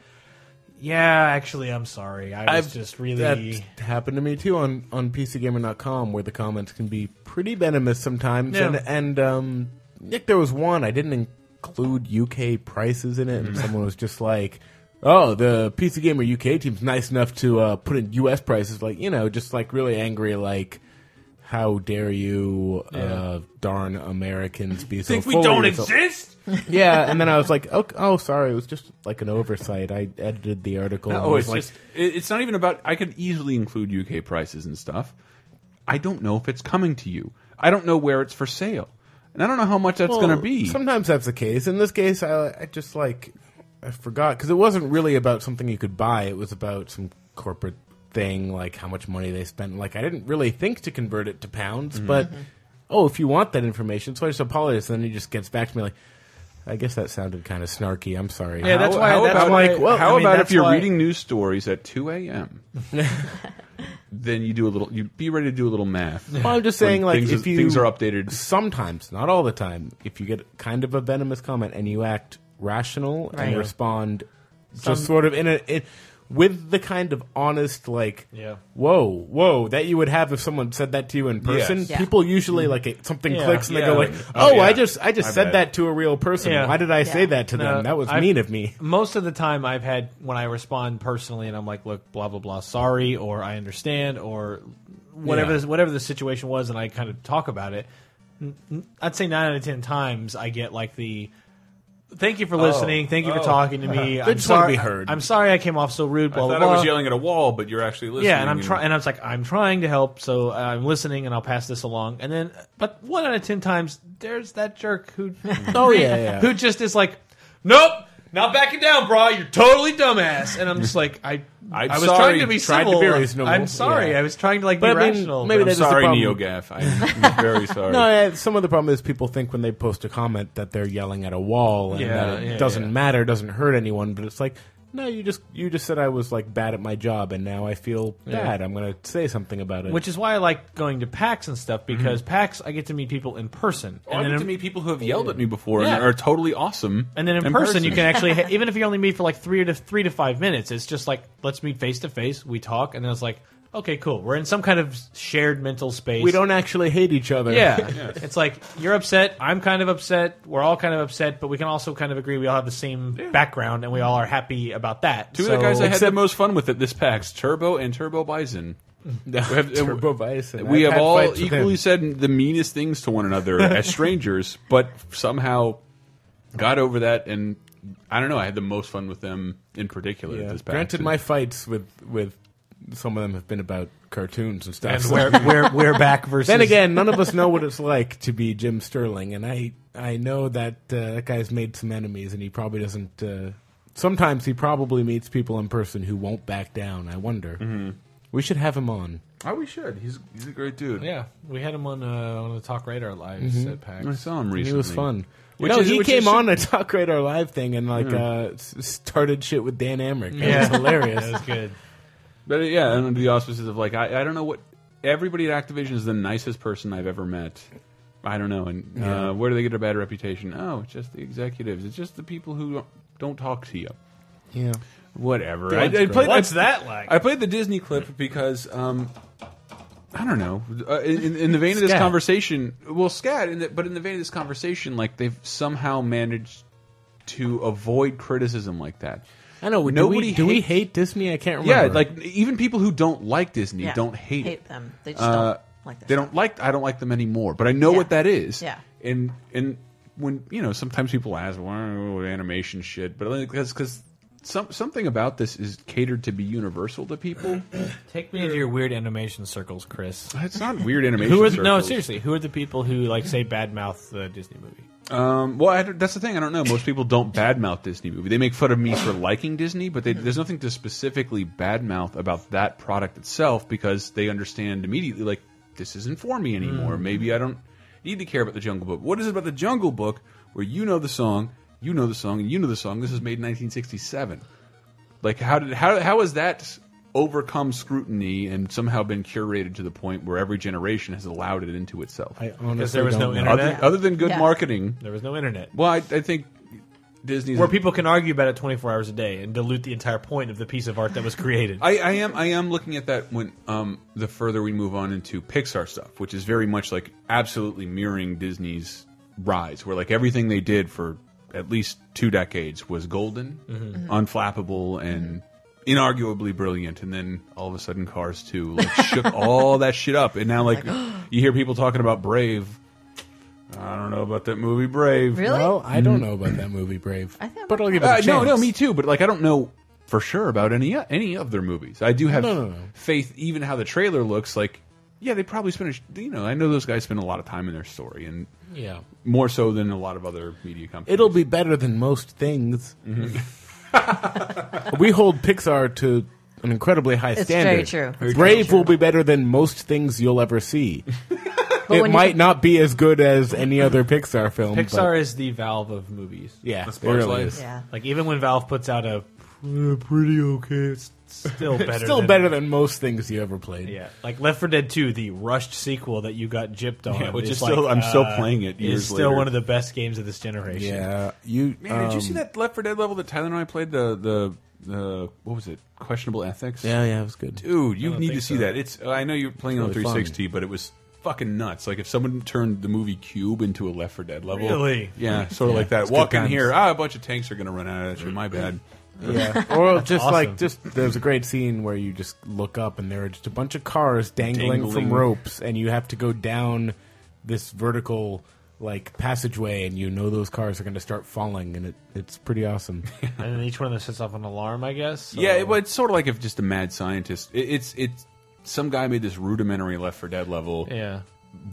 "Yeah, actually, I'm sorry. I was I've- just really That happened to me too on on PCGamer.com, where the comments can be pretty venomous sometimes. Yeah. And and um, Nick, there was one I didn't include UK prices in Mm. it, and someone was just like. Oh, the PC Gamer UK team's nice enough to uh, put in US prices, like you know, just like really angry, like how dare you, uh, darn Americans, be so full of yourself." exist? Yeah, and then I was like, oh, oh, sorry, it was just like an oversight. I edited the article. and I No, was Oh, it's just like, it- it's not even about. I could easily include UK prices and stuff. I don't know if it's coming to you. I don't know where it's for sale, and I don't know how much that's Well, going to be. Sometimes that's the case. In this case, I, I just like I forgot because it wasn't really about something you could buy. It was about some corporate thing, like how much money they spent. Like I didn't really think to convert it to pounds, Mm-hmm. but oh, if you want that information, so I just apologize. And then he just gets back to me like, I guess that sounded kind of snarky. I'm sorry. Yeah, that's How- why- How that's about, why- well, how I mean, about if that's you're why- reading news stories at 2 a.m. then you do a little. You be ready to do a little math. Well, I'm just saying, When like, things, if you things are updated, sometimes, not all the time, if you get kind of a venomous comment and you act rational and Right. respond just sort of in a in, with the kind of honest, like, Yeah. whoa, whoa, that you would have if someone said that to you in person. Yes. Yeah. People usually like it, something Yeah. clicks and they Yeah, go like, like, oh, oh, yeah. I just I just I said bet. that to a real person. Yeah. Why did I say Yeah. that to No, them? That was I've- mean of me. most of the time I've had when I respond personally and I'm like, look, blah blah blah, sorry, or I understand, or whatever Yeah. the- whatever the situation was, and I kind of talk about it. n- n- I'd say nine out of ten times I get like the. Thank you for listening. Thank you for talking to me. I'm Oh. just wanna sorry. be heard. I'm sorry I came off so rude. Blah blah. blah. at a wall, but you're actually listening. Yeah, and I'm trying, and I was like, I'm trying to help, so I'm listening, and I'll pass this along. And then, but one out of ten times, there's that jerk who, Oh, yeah, yeah. who just is like, nope, not backing down, bro. You're totally dumbass. And I'm just like, I, I'm I was sorry. trying to be Tried to civil. be like, reasonable. I'm sorry, Yeah. I was trying to like But be I mean, rational. maybe but that I'm is the sorry, problem. NeoGaf. I'm very sorry. No, yeah, some of the problem is people think when they post a comment that they're yelling at a wall and Yeah, that it yeah, doesn't yeah. matter, doesn't hurt anyone, but it's like no, you just you just said I was like bad at my job and now I feel bad. I'm going to say something about it. which is why I like going to PAX and stuff because Mm-hmm. PAX, I get to meet people in person. Oh, Well, I and get then to meet people who have yelled at me before Yeah. and are totally awesome. And then in, person, you can actually ha- even if you only meet for like three to three to five minutes, it's just like let's meet face to face. We talk, and then it's like, okay, cool. We're in some kind of shared mental space. we don't actually hate each other. Yeah, it's like you're upset. I'm kind of upset. We're all kind of upset, but we can also kind of agree we all have the same background, and we all are happy about that. Two so, of the guys I had the most fun with at this PAX, Turbo and Turbo Bison. we have- uh, Turbo Bison. We have I've had all fights with him. equally said the meanest things to one another as strangers, but somehow got over that. And I don't know, I had the most fun with them in particular at Yeah. this PAX. Granted, my fights with with some of them have been about cartoons and stuff. and so- we're, we're, we're back versus Then again, none of us know what it's like to be Jim Sterling, and I I know that uh, that guy's made some enemies, and he probably doesn't. Uh, sometimes he probably meets people in person who won't back down. I wonder. Mm-hmm. We should have him on. Oh, we should. He's, he's a great dude. Yeah, we had him on uh, on the Talk Radar lives at PAX. I saw him He recently. was fun. Which no, is- he which is- Mm. came on a Talk Radar Live thing and like uh, s- started shit with Dan Amrick. It was That hilarious. was good. But uh, yeah, and under the auspices of like, I, I don't know what everybody at Activision is the nicest person I've ever met. I don't know, and Yeah. uh, where do they get a bad reputation? Oh, it's just the executives. It's just the people who don't talk to you. yeah. Whatever. That's great. What's that like? I played the Disney clip because um, I don't know. Uh, in, in the vein of this Scat. conversation, well, scat. In the, but in the vein of this conversation, like they've somehow managed to avoid criticism like that. I know. Nobody Nobody do we hates- hate Disney? I can't Yeah, remember. like even people who don't like Disney Yeah. don't hate, it. them. They just Uh, don't like their they stuff. don't like. I don't like them anymore. But I know Yeah. what that is. Yeah. And and when you know, sometimes people ask, "Well, animation shit," but because because some something about this is catered to be universal to people. Take me into your weird animation circles, Chris. It's not weird animation. Who are the, no circles. seriously? Who are the people who like say badmouth the Disney movie? Um, well, I, don't- that's the thing. I don't know. Most people don't badmouth Disney movie. They make fun of me for liking Disney, but they, there's nothing to specifically badmouth about that product itself because they understand immediately, like, this isn't for me anymore. Maybe I don't need to care about the Jungle Book. What is it about the Jungle Book where you know the song, you know the song, and you know the song? This was made in 1967. Like, how did how how has that overcome scrutiny and somehow been curated to the point where every generation has allowed it into itself? I honestly Because there was no don't know. internet. other, other than good Yeah. marketing. there was no internet. Well, I, I think Disney's. Where people can argue about it 24 hours a day and dilute the entire point of the piece of art that was created. I, I am I am looking at that when um the further we move on into Pixar stuff, which is very much like absolutely mirroring Disney's rise, where like everything they did for at least two decades was golden, Mm-hmm. unflappable, and inarguably brilliant. And then all of a sudden, Cars two like shook all that shit up, and now like you hear people talking about Brave. I don't know about that movie Brave. Really? Well, I don't know about that movie, Brave. I think- but I'll give it a Mm. Uh, chance. no, no, me too. But like, I don't know for sure about any any of their movies. I do have No, no, no. faith, even how the trailer looks. Like, yeah, they probably spent. a sh- You know, I know those guys spend a lot of time in their story, and Yeah. more so than a lot of other media companies. It'll be better than most things. we hold Pixar to an incredibly high It's standard. very true. Very Brave true. will be better than most things you'll ever see. it when you might can- not be as good as any other Pixar film. but- Pixar is the Valve of movies. yeah, it sparklight. really is. yeah. Like even when Valve puts out a "Uh, pretty okay, it's still better. Still than, better than most things you ever played. Yeah, like Left 4 Dead 2, the rushed sequel that you got gypped on, Yeah, which is is still- like, I'm still uh, playing it years is still later. one of the best games of this generation. Yeah, you. Man, did you see um, that Left 4 Dead level that Tyler and I played? The the the what was it? Questionable ethics. Yeah, yeah, it was good. Dude, you don't need to think see so. that. It's I know you're playing on really 360, but it was fucking nuts. Like if someone turned the movie Cube into a Left 4 Dead level, Really? Yeah, sort of like that. it's Walk good in times. Mm-hmm. here, ah, a bunch of tanks are gonna run out at you. My bad. Yeah, or just awesome. like just there's a great scene where you just look up and there are just a bunch of cars dangling, Dangling. from ropes, and you have to go down this vertical like passageway, and you know those cars are going to start falling, and it, it's pretty awesome. and then each one of them sets off an alarm, I guess. so- Yeah, it, well, it's sort of like if just a mad scientist. It, it's it's some guy made this rudimentary Left 4 Dead level yeah.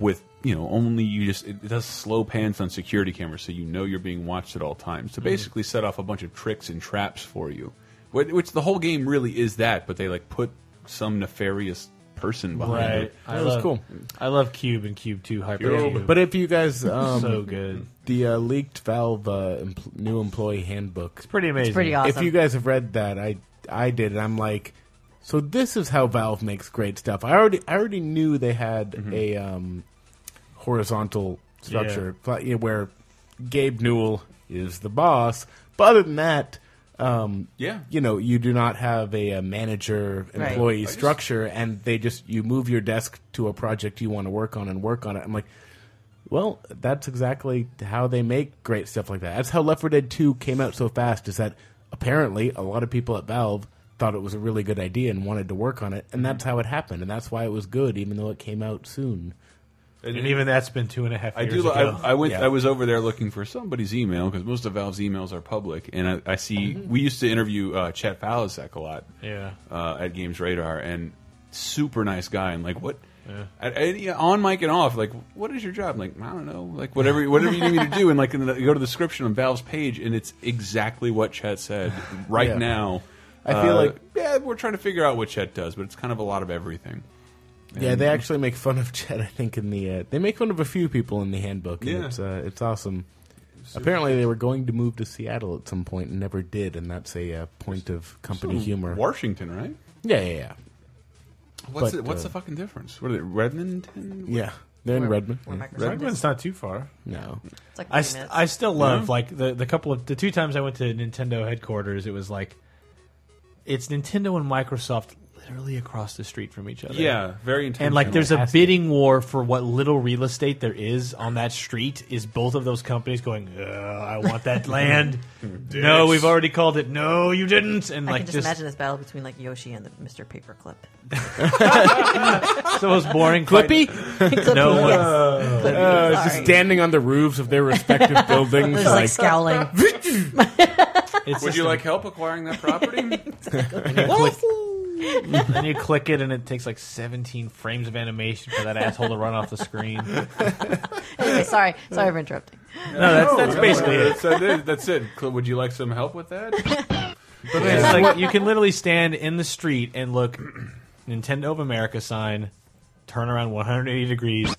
with you know only you just it, it does slow pans on security cameras, so you know you're being watched at all times. Mm-hmm. To basically set off a bunch of tricks and traps for you, Wh- which the whole game really is that, but they like put some nefarious person behind Right. it. I That was love- cool. I love Cube and Cube 2 Hyper. Cube. but if you guys, um, so good. the uh, leaked Valve uh, empl- new employee handbook, Pretty amazing. Pretty awesome. if you guys have read that, I I did, and I'm like, so this is how Valve makes great stuff. I already I already knew they had a um, horizontal structure but, you know, where Gabe Newell is the boss, but other than that. Um, Yeah. you know, you do not have a, uh manager Right. employee just- structure, and they just you move your desk to a project you want to work on and work on it. I'm like, well, that's exactly how they make great stuff like that. That's how Left 4 Dead 2 came out so fast, is that apparently a lot of people at Valve thought it was a really good idea and wanted to work on it, and that's how it happened, and that's why it was good, even though it came out soon. and even that's been two and a half I years do. ago. I, I went. Yeah. I was over there looking for somebody's email because most of Valve's emails are public, and I, I see Mm-hmm. we used to interview uh, Chet Palazek a lot. Yeah. uh, at Games Radar, and super nice guy. And like, what? At, at- yeah, on mic and off, like, what is your job? like, I don't know. Like, whatever, whatever you need me to do. And like, in the, you go to the description on Valve's page, and it's exactly what Chet said right Yeah. now. Uh, I feel like- yeah, we're trying to figure out what Chet does, but it's kind of a lot of everything. Yeah, uh, they actually make fun of Chet, I think, in the. Uh, they make fun of a few people in the handbook, and Yeah. it's, uh, it's awesome. Apparently, they were going to move to Seattle at some point and never did, and that's a uh, point of company humor. Washington, right? Yeah, yeah, yeah. What's But, the, what's uh, the fucking difference? What are they, Redmonton? Yeah. They're in We're- Redmond. we're Yeah. Microsoft. Redmond's not too far. Hmm? No. It's like I, 30 st- minutes. I still love like the the couple of the two times I went to Nintendo headquarters, it was like it's Nintendo and Microsoft literally across the street from each other. Yeah, very intense. And like there's a bidding war for what little real estate there is on that street is both of those companies going, "Uh, I want that land. no, we've already called it. No, you didn't. And I like can just, just, imagine this battle between like Yoshi and the Mr. Paperclip. the most boring Clippy? no one Uh, just standing on the roofs of their respective buildings. Just like scowling. It's Would just you a- like help acquiring that property? Then you click it, and it takes like 17 frames of animation for that asshole to run off the screen. Anyway, sorry, sorry for interrupting. No, Oh, that's, that's basically it. That's, it. that's it. Cl- Would you like some help with that? But it's like you can literally stand in the street and look Nintendo of America sign, turn around 180 degrees,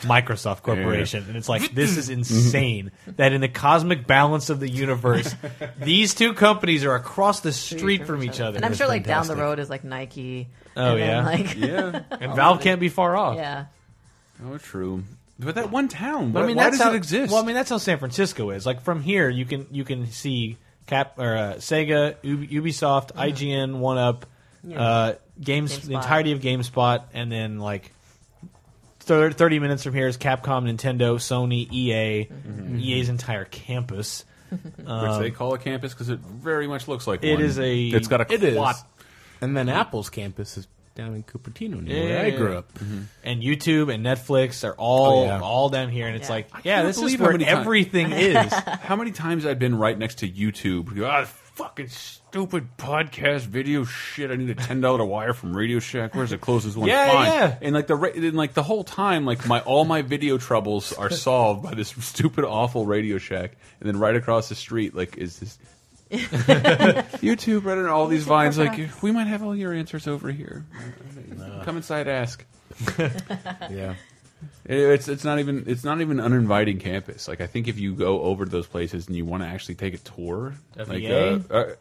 Microsoft Corporation, and it's like this is insane that in the cosmic balance of the universe, these two companies are across the street from each other. And I'm sure like down fantastic. the road is like Nike. Oh, and then, yeah. like yeah. Yeah. And Valve can't be far off. Oh, true. But that one town. But why, I mean, why that's does how, it exist? Well, I mean, that's how San Francisco is. Like from here, you can you can see Cap or uh, Sega, Ub- Ubisoft, Mm-hmm. IGN, One Up, uh, games, GameSpot. the entirety of GameSpot, and then like thir- thirty minutes from here is Capcom, Nintendo, Sony, E EA, Mm-hmm. EA's entire campus. Which they call a campus because it very much looks like It one. is a. It's got a It is. quad. And then Apple's campus is down in Cupertino, near Yeah, where I yeah, grew yeah. up. and YouTube and Netflix are all Oh, yeah. all down here, and it's Yeah. like, yeah, can't this is believe how where many times- everything is. How many times I've been right next to YouTube? You go, Ah, fucking stupid podcast video shit. I need a ten dollar wire from Radio Shack. Where's the closest one? Yeah, Fine. yeah. And like the ra- and like the whole time, like my all my video troubles are solved by this stupid awful Radio Shack. And then right across the street, like is this. YouTube, Reddit, and all these vines, like we might have all your answers over here. Come inside, ask. Yeah. It- It's it's not even it's not even an uninviting campus. Like I think if you go over to those places and you want to actually take a tour, Of E like EA? uh, uh,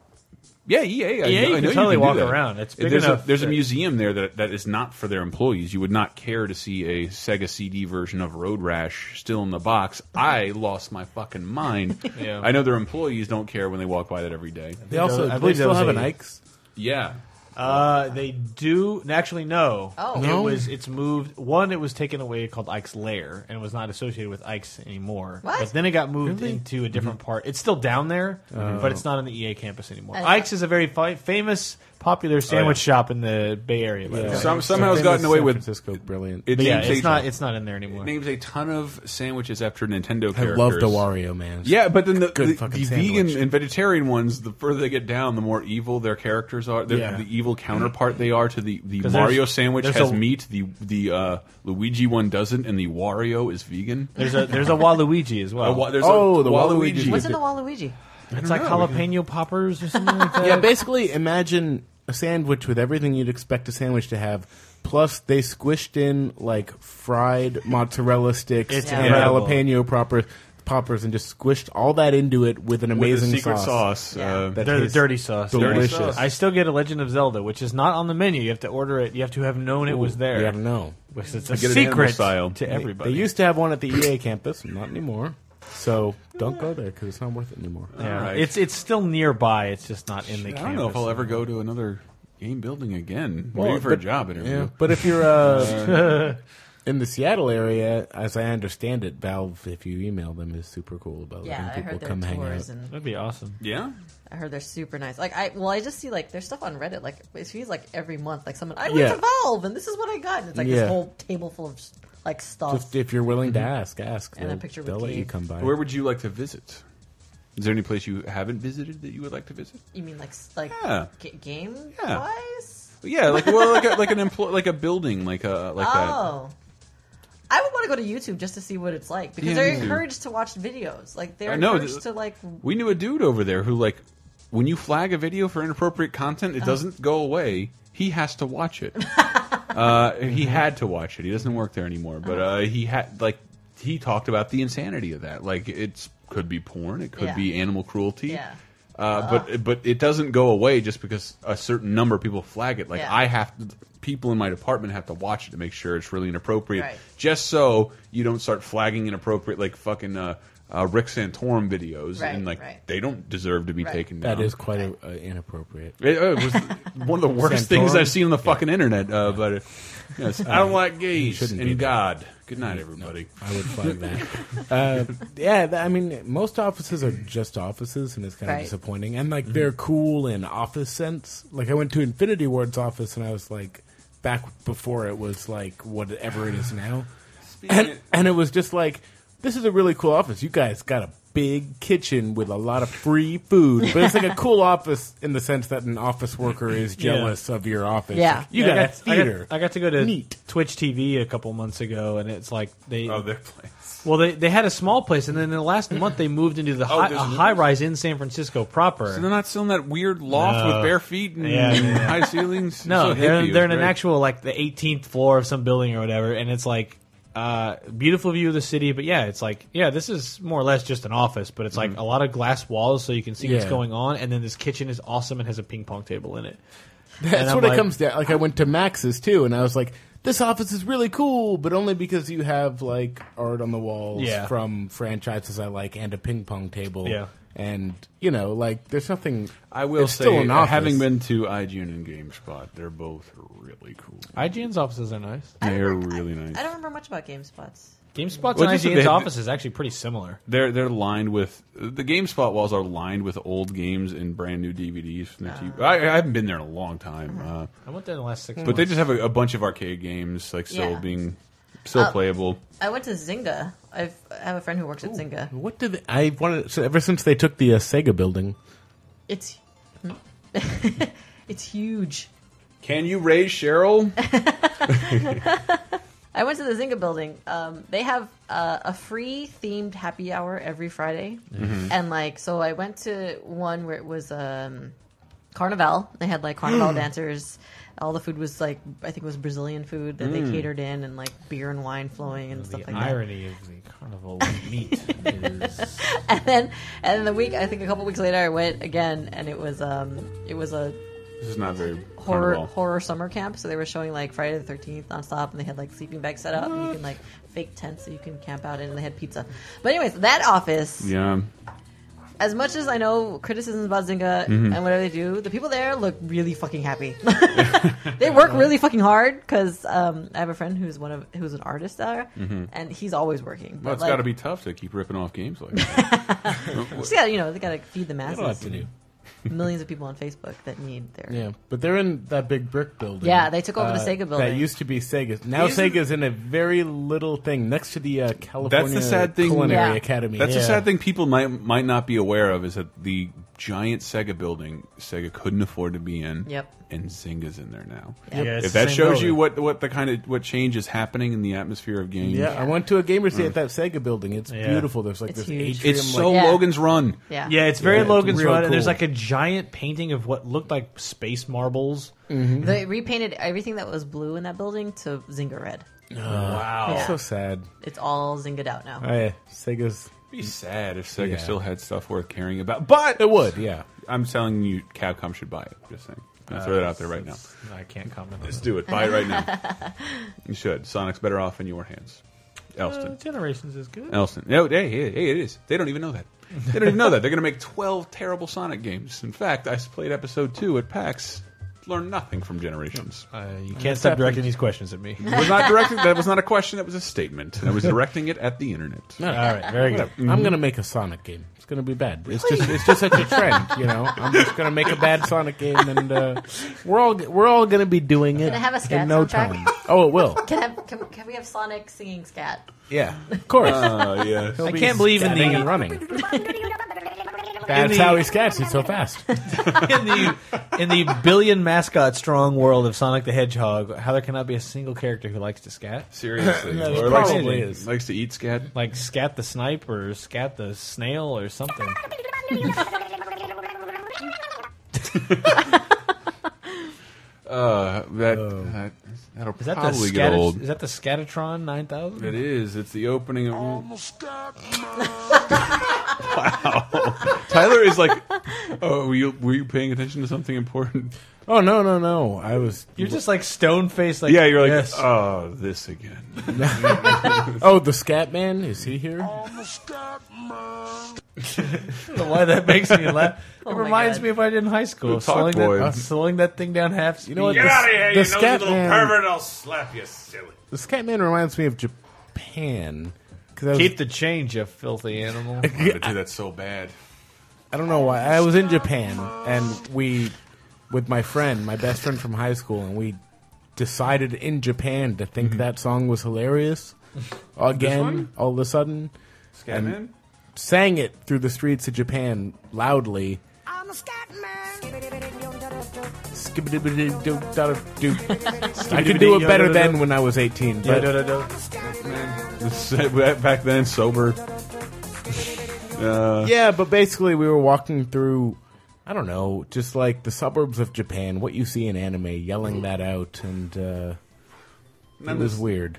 yeah, EA, I EA, know- I you know can totally do walk that. around. It's big there's enough a, there's a that- museum there that that is not for their employees. You would not care to see a Sega CD version of Road Rash still in the box. I lost my fucking mind. Yeah. I know their employees don't care when they walk by that every day. They also, I I believe they still that was have an a- Ike's. Yeah, Uh, they do actually no. Oh. it No? was it's moved. One, it was taken away called Ike's Lair and was not associated with Ike's anymore. What? But then it got moved into a different part. It's still down there, but it's not on the EA campus anymore. I- Ike's is a very fi- famous, popular sandwich shop in the Bay Area. by the way. Some, somehow it's Famous gotten away San with. Francisco brilliant. It But yeah, names it's a- not it's not in there anymore. names a ton of sandwiches after Nintendo I characters. love the Wario man. Yeah, but then the, Good the, fucking the sandwich. vegan and vegetarian ones, the further they get down, the more evil their characters are. The, Yeah. the evil counterpart they are to the, the 'Cause Mario there's- sandwich there's has a- meat, the the uh, Luigi one doesn't, and the Wario is vegan. There's a there's a Waluigi as Uh, well. wa- there's Oh, a the Waluigi. What's in the Waluigi? it's like jalapeno poppers or something like that. Yeah, basically, imagine a sandwich with everything you'd expect a sandwich to have. Plus, they squished in like fried mozzarella sticks It's and incredible. jalapeno proper, poppers, and just squished all that into it with an with amazing the secret sauce. Yeah. Uh, That They're the tastes dirty sauce. Delicious. Dirty sauce. I still get a Legend of Zelda, which is not on the menu. You have to order it. You have to have known it was there. You gotta know. Because it's a get it animal secret style. to everybody. They used to have one at the EA campus, not anymore. So don't go there because it's not worth it anymore. Yeah. Alright. It's it's still nearby. It's just not in the I campus. don't know if I'll ever go to another game building again. Maybe for a but- job interview. Yeah, but if you're uh, in the Seattle area, as I understand it, Valve, if you email them, is super cool about Yeah, I letting people heard come their hang tours out. and That'd be awesome. Yeah? I heard they're super nice. Like I, well, I just see like there's stuff on Reddit. Like it seems like every month, like someone I went Yeah. to Valve and this is what I got. And it's like Yeah. this whole table full of like stuff. Just if you're willing to ask, ask. Mm-hmm. And a they'll picture with they'll let you Keith. come by. Where would you like to visit? Is there any place you haven't visited that you would like to visit? you mean like s- like Yeah. ga- game Yeah. wise? Yeah, like well, like a, like an employ, like a building, like a like that. Oh. I would want to go to YouTube just to see what it's like because Yeah, they're me too. encouraged to watch videos. Like they're I know, encouraged th- to like We knew a dude over there who, like, when you flag a video for inappropriate content, Uh-huh. it doesn't go away. He has to watch it. uh, he had to watch it. He doesn't work there anymore, but Uh-huh. uh, he had like he talked about the insanity of that. Like, it's could be porn, it could Yeah. be animal cruelty. Yeah. Uh, but but it doesn't go away just because a certain number of people flag it. Like Yeah. I have to, people in my department have to watch it to make sure it's really inappropriate. Right. Just so you don't start flagging inappropriate like fucking uh, uh, Rick Santorum videos Right, and like right. they don't deserve to be Right. taken down. That is quite a, uh, inappropriate. It, uh, it was one of the worst Santorum? things I've seen on the fucking internet. Uh, But uh, yes, I don't like gays shouldn't and do that. God. Good night, everybody. I would find that. uh, yeah, th- I mean, most offices are just offices, and it's kind of Right. disappointing. And Mm-hmm. like, they're cool in office sense. Like, I went to Infinity Ward's office, and I was like, back before it was like whatever it is now, and, and it was just like, this is a really cool office. You guys got a big kitchen with a lot of free food, but it's like a cool office in the sense that an office worker is jealous of your office. Yeah. Like, you Yeah, got, a I got- theater. I got, to go to Neat. Twitch TV a couple months ago, and it's like they. Oh, their place. well, they, they had a small place, and then in the last month they moved into the high, a Oh, there's a new- high rise in San Francisco proper. They're not still in that weird loft No. with bare feet and Yeah, yeah, yeah. high ceilings. no, So hippie. they're, It they're in was an great. actual like the 18th floor of some building or whatever, and it's like uh, beautiful view of the city. But yeah, it's like yeah, this is more or less just an office, but it's like Mm-hmm. a lot of glass walls, so you can see what's Yeah. going on. And then this kitchen is awesome and has a ping pong table in it. And That's I'm what like- it comes down. Like I went to Max's too, and I was like, "This office is really cool," but only because you have like art on the walls Yeah. from franchises I like and a ping pong table. Yeah. and you know, like there's nothing. I will it's say, still an office. having been to IGN and GameSpot, they're both really cool. IGN's offices are nice. They're really nice. I don't remember much about GameSpots. GameSpot's Well, and just a IGN's bit- office is actually pretty similar. They're they're lined with the GameSpot walls are lined with old games and brand new DVDs from the Oh. TV. I, I haven't been there in a long time, Uh-huh. uh, I went there in the last six. but they just have a, a bunch of arcade games like still Yeah. Uh, being still playable. I went to Zynga. I've, I have a friend who works at Zynga. What did they- I wanted? So ever since they took the uh, Sega building, It's it's huge. Can you raise Cheryl? I went to the Zynga building. Um, they have uh, a free themed happy hour every Friday, and like so, I went to one where it was um, Carnival. They had like Carnival dancers. All the food was like I think it was Brazilian food that they catered in, and like beer and wine flowing and stuff like that. irony of the carnival meat is And then and then the week I think a couple weeks later I went again, and it was um it was a this is not very horror Carnival. horror summer camp. So they were showing like Friday the Thirteenth nonstop, and they had like sleeping bags set up, and you can like fake tents that you can camp out in, and they had pizza. But anyways, that office. Yeah, As much as I know criticisms about Zynga Mm-hmm. and whatever they do, the people there look really fucking happy. they work really fucking hard because um, I have a friend who's one of who's an artist there, Mm-hmm. and he's always working. well, it's like, got to be tough to keep ripping off games like that. just gotta, you know they gotta feed the masses. I don't have to do. Millions of people on Facebook that need their Yeah, but they're in that big brick building. Uh, Yeah, they took over the Sega That building. used to be Sega's. Now Sega's in a very little thing next to the uh, California sad thing- Culinary Yeah. Academy. That's Yeah. the sad thing people might might not be aware of is that the giant Sega building Sega couldn't afford to be in. Yep. And Zynga's in there now. Yep. Yeah, it's if the that same shows you building. what what the kind of what change is happening in the atmosphere of games. Yeah, I went to a gamers day at that Sega building. It's Mm. Yeah. beautiful. There's like It's this huge. atrium. It's so Yeah. Logan's Run. yeah Yeah, it's very Yeah, it's Logan's real Run, and there's cool. like a giant painting of what looked like space marbles. They repainted everything that was blue in that building to Zynga red. Wow. like, so sad. It's all zinged out now. Oh, yeah, Sega's. It'd be sad if Sega Yeah. still had stuff worth caring about. But It would, yeah. I'm telling you, Capcom should buy it. Just saying. I'll throw it out there right now. I can't comment on Let's that. do it. Buy it right now. you should. Sonic's better off in your hands. Elston. Uh, Generations is good. Elston. No, hey, hey, hey, it is. They don't even know that. They don't even know that. They're going to make 12 terrible Sonic games. In fact, I played episode 2 at PAX. Learned nothing from Generations. Uh, you can't stop directing these questions at me. It was not directed, that was not a question, that was a statement. I was directing it at the internet. All right, very good. I'm gonna make a Sonic game. It's gonna be bad. It's just it's just such a trend, you know. I'm just gonna make a bad Sonic game, and uh, we're all we're all gonna be doing it it have a scat in no soundtrack? time. Oh, it will. Can, have, can, can we have Sonic singing scat? Yeah, of course. Uh, yes. I can't believe in Scatting and the running. That's how he scats. He's so fast. in the in the billion mascot strong world of Sonic the Hedgehog, how there cannot be a single character who likes to scat. Seriously. Yeah, it or likes, probably is. likes to eat scat. Like scat the snipe or scat the snail or something. Uh, that, that that'll Oh. Is that probably the get scat? old. Is that the Scatatron nine thousand? it is. It's the opening of. wow, Tyler is like, oh, were you, were you paying attention to something important? Oh no no no! I was. You're just like stone faced. Like Yeah, you're like, yes. oh, this again. Oh, the Scat Man is he here? don't know why that makes me laugh. it my reminds God. me of when I did in high school, The talk slowing boy. that, uh, slowing that thing down half speed. You know what? the, the Scat Man, I'll slap you, silly. The Scat Man reminds me of Japan. 'Cause I, was- Keep the change, you filthy animal. I wanted to do that so bad. I don't know why. I was in Japan and we, with my friend, my best friend from high school, and we decided in Japan to Mm-hmm. think that song was hilarious. Again, all of a sudden, Scatman? sang it through the streets of Japan loudly. I'm a scat man. Skibidi-do-da-do. I could do it better then when I was 18. But Back then, sober. Uh, yeah, but basically we were walking through, I don't know, just like the suburbs of Japan, what you see in anime, yelling that out, and uh, it was weird.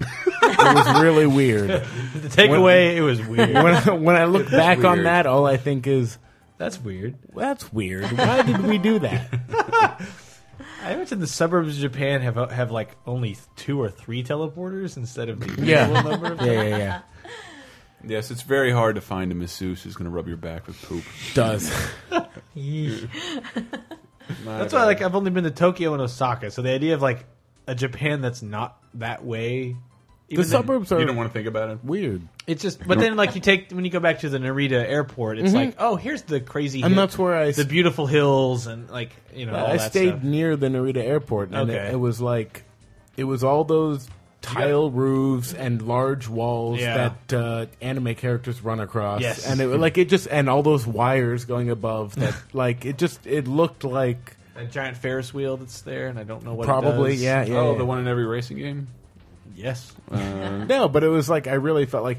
it was really weird. The takeaway, it was weird. When I, when I look back on that, all I think is, That's weird. that's weird. Why did we do that? I imagine the suburbs of Japan have uh, have like only two or three teleporters instead of the Yeah. usual number. Of Yeah, yeah, yeah. Yes, it's very hard to find a masseuse who's going to rub your back with poop. Does. That's why like I've only been to Tokyo and Osaka, so the idea of like a Japan that's not that way. The even though- suburbs You are don't want to think about it. weird. It's just, but then like you take when you go back to the Narita airport, it's like, oh, here's the crazy, Mm-hmm. And hill- that's where I the s- beautiful hills and like you know. all I that stayed stuff. near the Narita airport, and Okay. it, it was like it was all those tile roofs and large walls Yeah. that uh, anime characters run across, Yes. and it like it just and all those wires going above that, like it just it looked like a giant Ferris wheel that's there, and I don't know what. it probably does. yeah yeah, oh, yeah. the one in every racing game. Uh, Yes. no, but it was like I really felt like.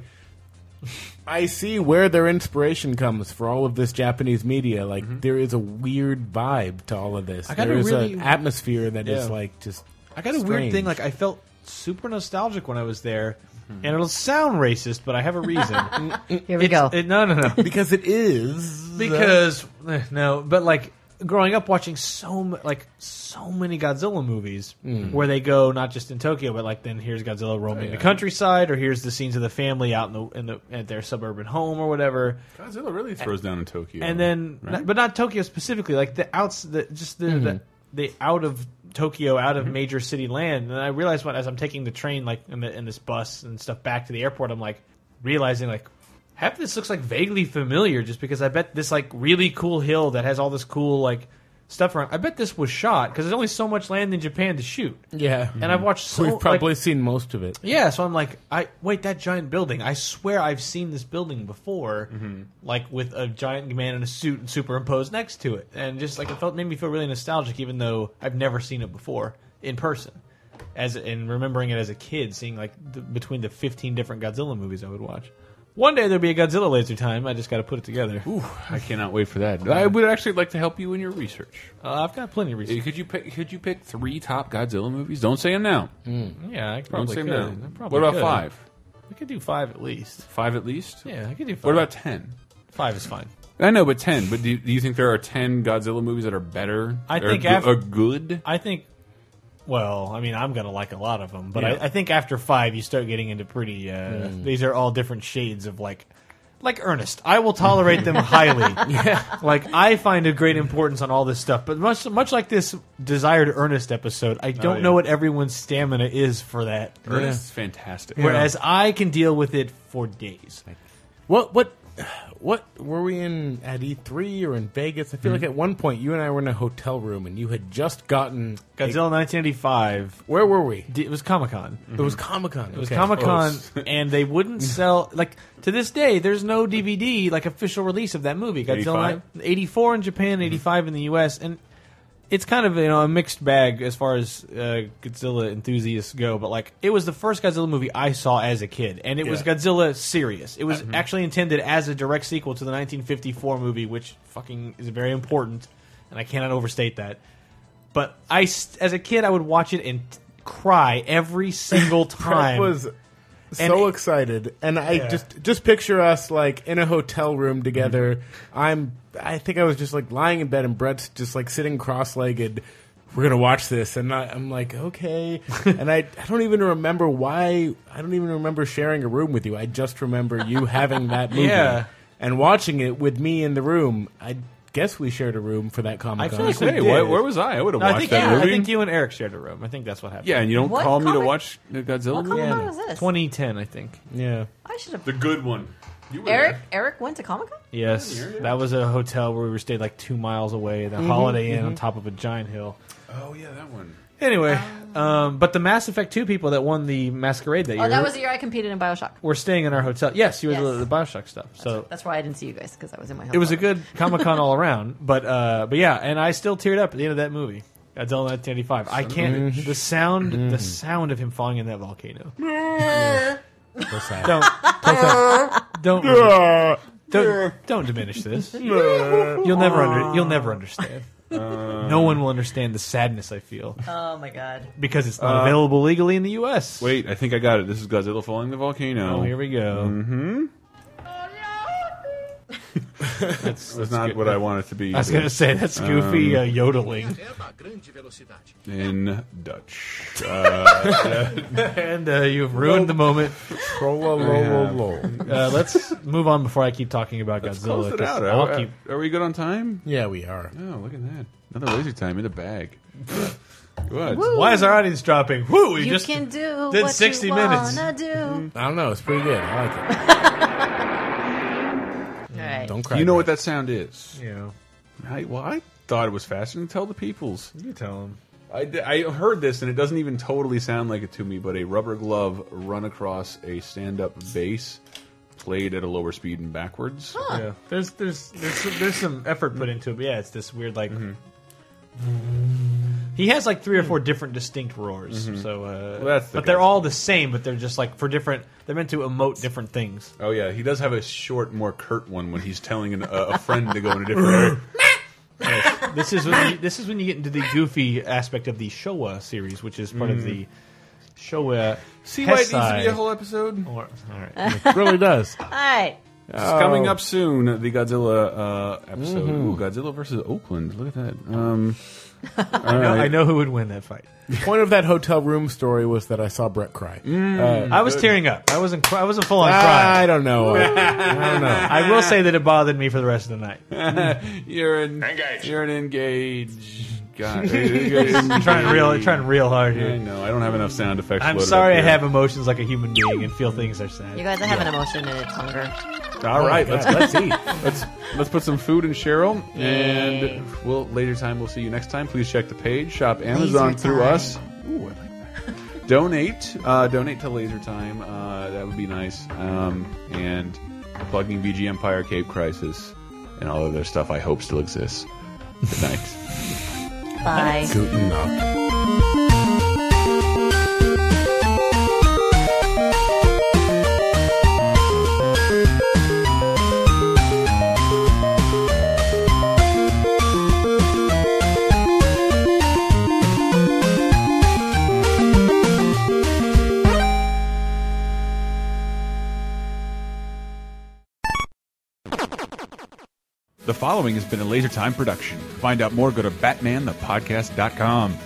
I see where their inspiration comes for all of this Japanese media. Like there is a weird vibe to all of this. Mm-hmm. I got There a is really- an atmosphere that is Yeah. like just. I got a weird thing. strange. Like I felt super nostalgic when I was there, and it'll sound racist, but I have a reason. Here we go. It- no, no, no. because it is because eh, no, but like growing up watching so m- like so many Godzilla movies where they go not just in Tokyo but like then here's Godzilla roaming the countryside or here's the scenes of the family out in the in the at their suburban home or whatever Godzilla really throws down in Tokyo. and then right? but not Tokyo specifically like the outs the just the the, the out of Tokyo out of major city land and I realized when as I'm taking the train like in the in this bus and stuff back to the airport I'm like realizing like half of this looks like vaguely familiar just because I bet this like really cool hill that has all this cool like stuff around I bet this was shot because there's only so much land in Japan to shoot yeah and I've watched so we've like- probably seen most of it yeah, so I'm like, I wait that giant building. I swear I've seen this building before, Mm-hmm. like with a giant man in a suit superimposed next to it, and just like it felt made me feel really nostalgic, even though I've never seen it before in person. As and remembering it as a kid, seeing like the, between the 15 different Godzilla movies I would watch. One day there'll be a Godzilla laser time. I just got to put it together. I cannot wait for that. I would actually like to help you in your research. Uh, I've got plenty of research. Could you pick? Could you pick three top Godzilla movies? Don't say them now. Yeah, I Don't probably say them could. now. I probably What about could. five? I could do five at least. Five at least. Yeah, I could do. five. What about ten? five? Is fine. I know, but ten. But do, do you think there are ten Godzilla movies that are better? I or think go- af- are good. I think. Well, I mean, I'm gonna like a lot of them, but Yeah. I, I think after five, you start getting into pretty. Uh, These are all different shades of like, like Ernest. I will tolerate them highly. yeah. Like I find a great importance on all this stuff, but much much like this desired Ernest episode, I don't yeah. know what everyone's stamina is for that. Ernest is fantastic. Whereas I can deal with it for days. what what what were we in at E3 or in Vegas? I feel like at one point you and I were in a hotel room and you had just gotten a- Godzilla 1985. where were we? d- It was Comic Con. It was Comic Con. It was Comic Oh, Con, and they wouldn't sell like to this day. There's no DVD like official release of that movie. Godzilla 85? eighty four in Mm-hmm. Japan, eighty five in the U.S. and it's kind of you know a mixed bag as far as uh, Godzilla enthusiasts go. But like it was the first Godzilla movie I saw as a kid, and it was Yeah. Mm-hmm. Godzilla serious. It was actually intended as a direct sequel to the 1954 movie, which fucking is very important, and I cannot overstate that but I, st- as a kid, I would watch it and t- cry every single I time. was so it- excited, and I just just picture us like in a hotel room together. Mm-hmm. I'm I think I was just like lying in bed, and Brett's just like sitting cross legged. We're gonna watch this, and I, I'm like, okay. and I, I don't even remember why. I don't even remember sharing a room with you. I just remember you having that movie Yeah. and watching it with me in the room. I guess we shared a room for that comic. feel like we Hey, did. why, where was I? I would have No, watched I think, that yeah, I movie. think you and Eric shared a room. I think that's what happened. yeah, and you don't What call me to comic- watch the Godzilla what movie. Comic Con was this? 2010, I think. Yeah. I should have. The good one. You were Eric there. Eric went to Comic Con. Yes, that was a Mm-hmm. hotel where we were stayed like two miles away, the Holiday Inn on top of a giant hill. Oh yeah, that one. Anyway, um, but the Mass Effect two people that won the masquerade that Oh, year that was the year I competed in Bioshock. were staying in our hotel. Yes, you were Yes. the, the Bioshock stuff. So That's why I didn't see you guys because I was in my. Oh. it was a good Comic Con all around. But uh, but yeah, and I still teared up at the end of that movie. Godzilla 1985. I can't. The sound, the sound of him falling in that volcano. So sad. Don't, don't, don't, don't, don't diminish this. You'll never under, you'll never understand. No one will understand the sadness I feel Oh my god. because it's not available legally in the U.S. Wait, I think I got it. This is Godzilla falling the volcano. oh, here we go. that's, not what I want it to be. I was gonna say that's goofy uh, yodeling. in Dutch. And uh, you've ruined the moment. Roll, roll, roll, roll. Uh, let's move on before I keep talking about Close Godzilla. it 'cause out. I'll Are, keep- are we good on time? Yeah, we are. Oh, look at that. Another lazy time in the bag. What? Why is our audience dropping? Woo! We You just can do did what 60 you minutes. Mm-hmm. wanna do. I don't know. It's pretty good. I like it. All right. Don't cry. You know what that sound is? You know, I, well, I thought it was fascinating. Tell the peoples. you tell them. I, d- I heard this, and it doesn't even totally sound like it to me, but a rubber glove run across a stand-up bass played at a lower speed and backwards. Yeah, there's there's there's some, there's some effort put into it. But yeah, it's this weird like. Mm-hmm. He has like three or four different distinct roars. So, uh, that's the but they're guy. all the same. But they're just like for different. They're meant to emote different things. Oh yeah, he does have a short, more curt one when he's telling an, a, a friend to go in a different area. This is when you, this is when you get into the goofy aspect of the Showa series, which is part of the Showa. See why it needs to Hesai be a whole episode? or- all right. It really does. All right. It's coming up soon, the Godzilla uh, episode. Ooh, Godzilla versus Oakland. Look at that. Um, all I right. know who would win that fight. The point of that hotel room story was that I saw Brett cry. I was tearing up. I wasn't. Cry, I wasn't full on I crying. don't know. I don't know. I will say that it bothered me for the rest of the night. You're an Engage. You're an engage. God, trying real, trying real hard I here. know. I don't have enough sound effects. I'm loaded up sorry I here. have emotions like a human being and feel things are sad. You guys, I have an emotion and it's hunger. All right, let's God, let's eat. Let's let's put some food in Cheryl, and we'll later time. We'll see you next time. Please check the page, shop Amazon Laser through time. us. Ooh, I like that. donate, uh, donate to Laser Time. Uh, that would be nice. Um, and plugging VG Empire, Cape Crisis, and all other stuff. I hope still exists. Good night. Bye. Guten Nacht. The following has been a Laser Time production. Find out more, go to BatmanThePodcast.com.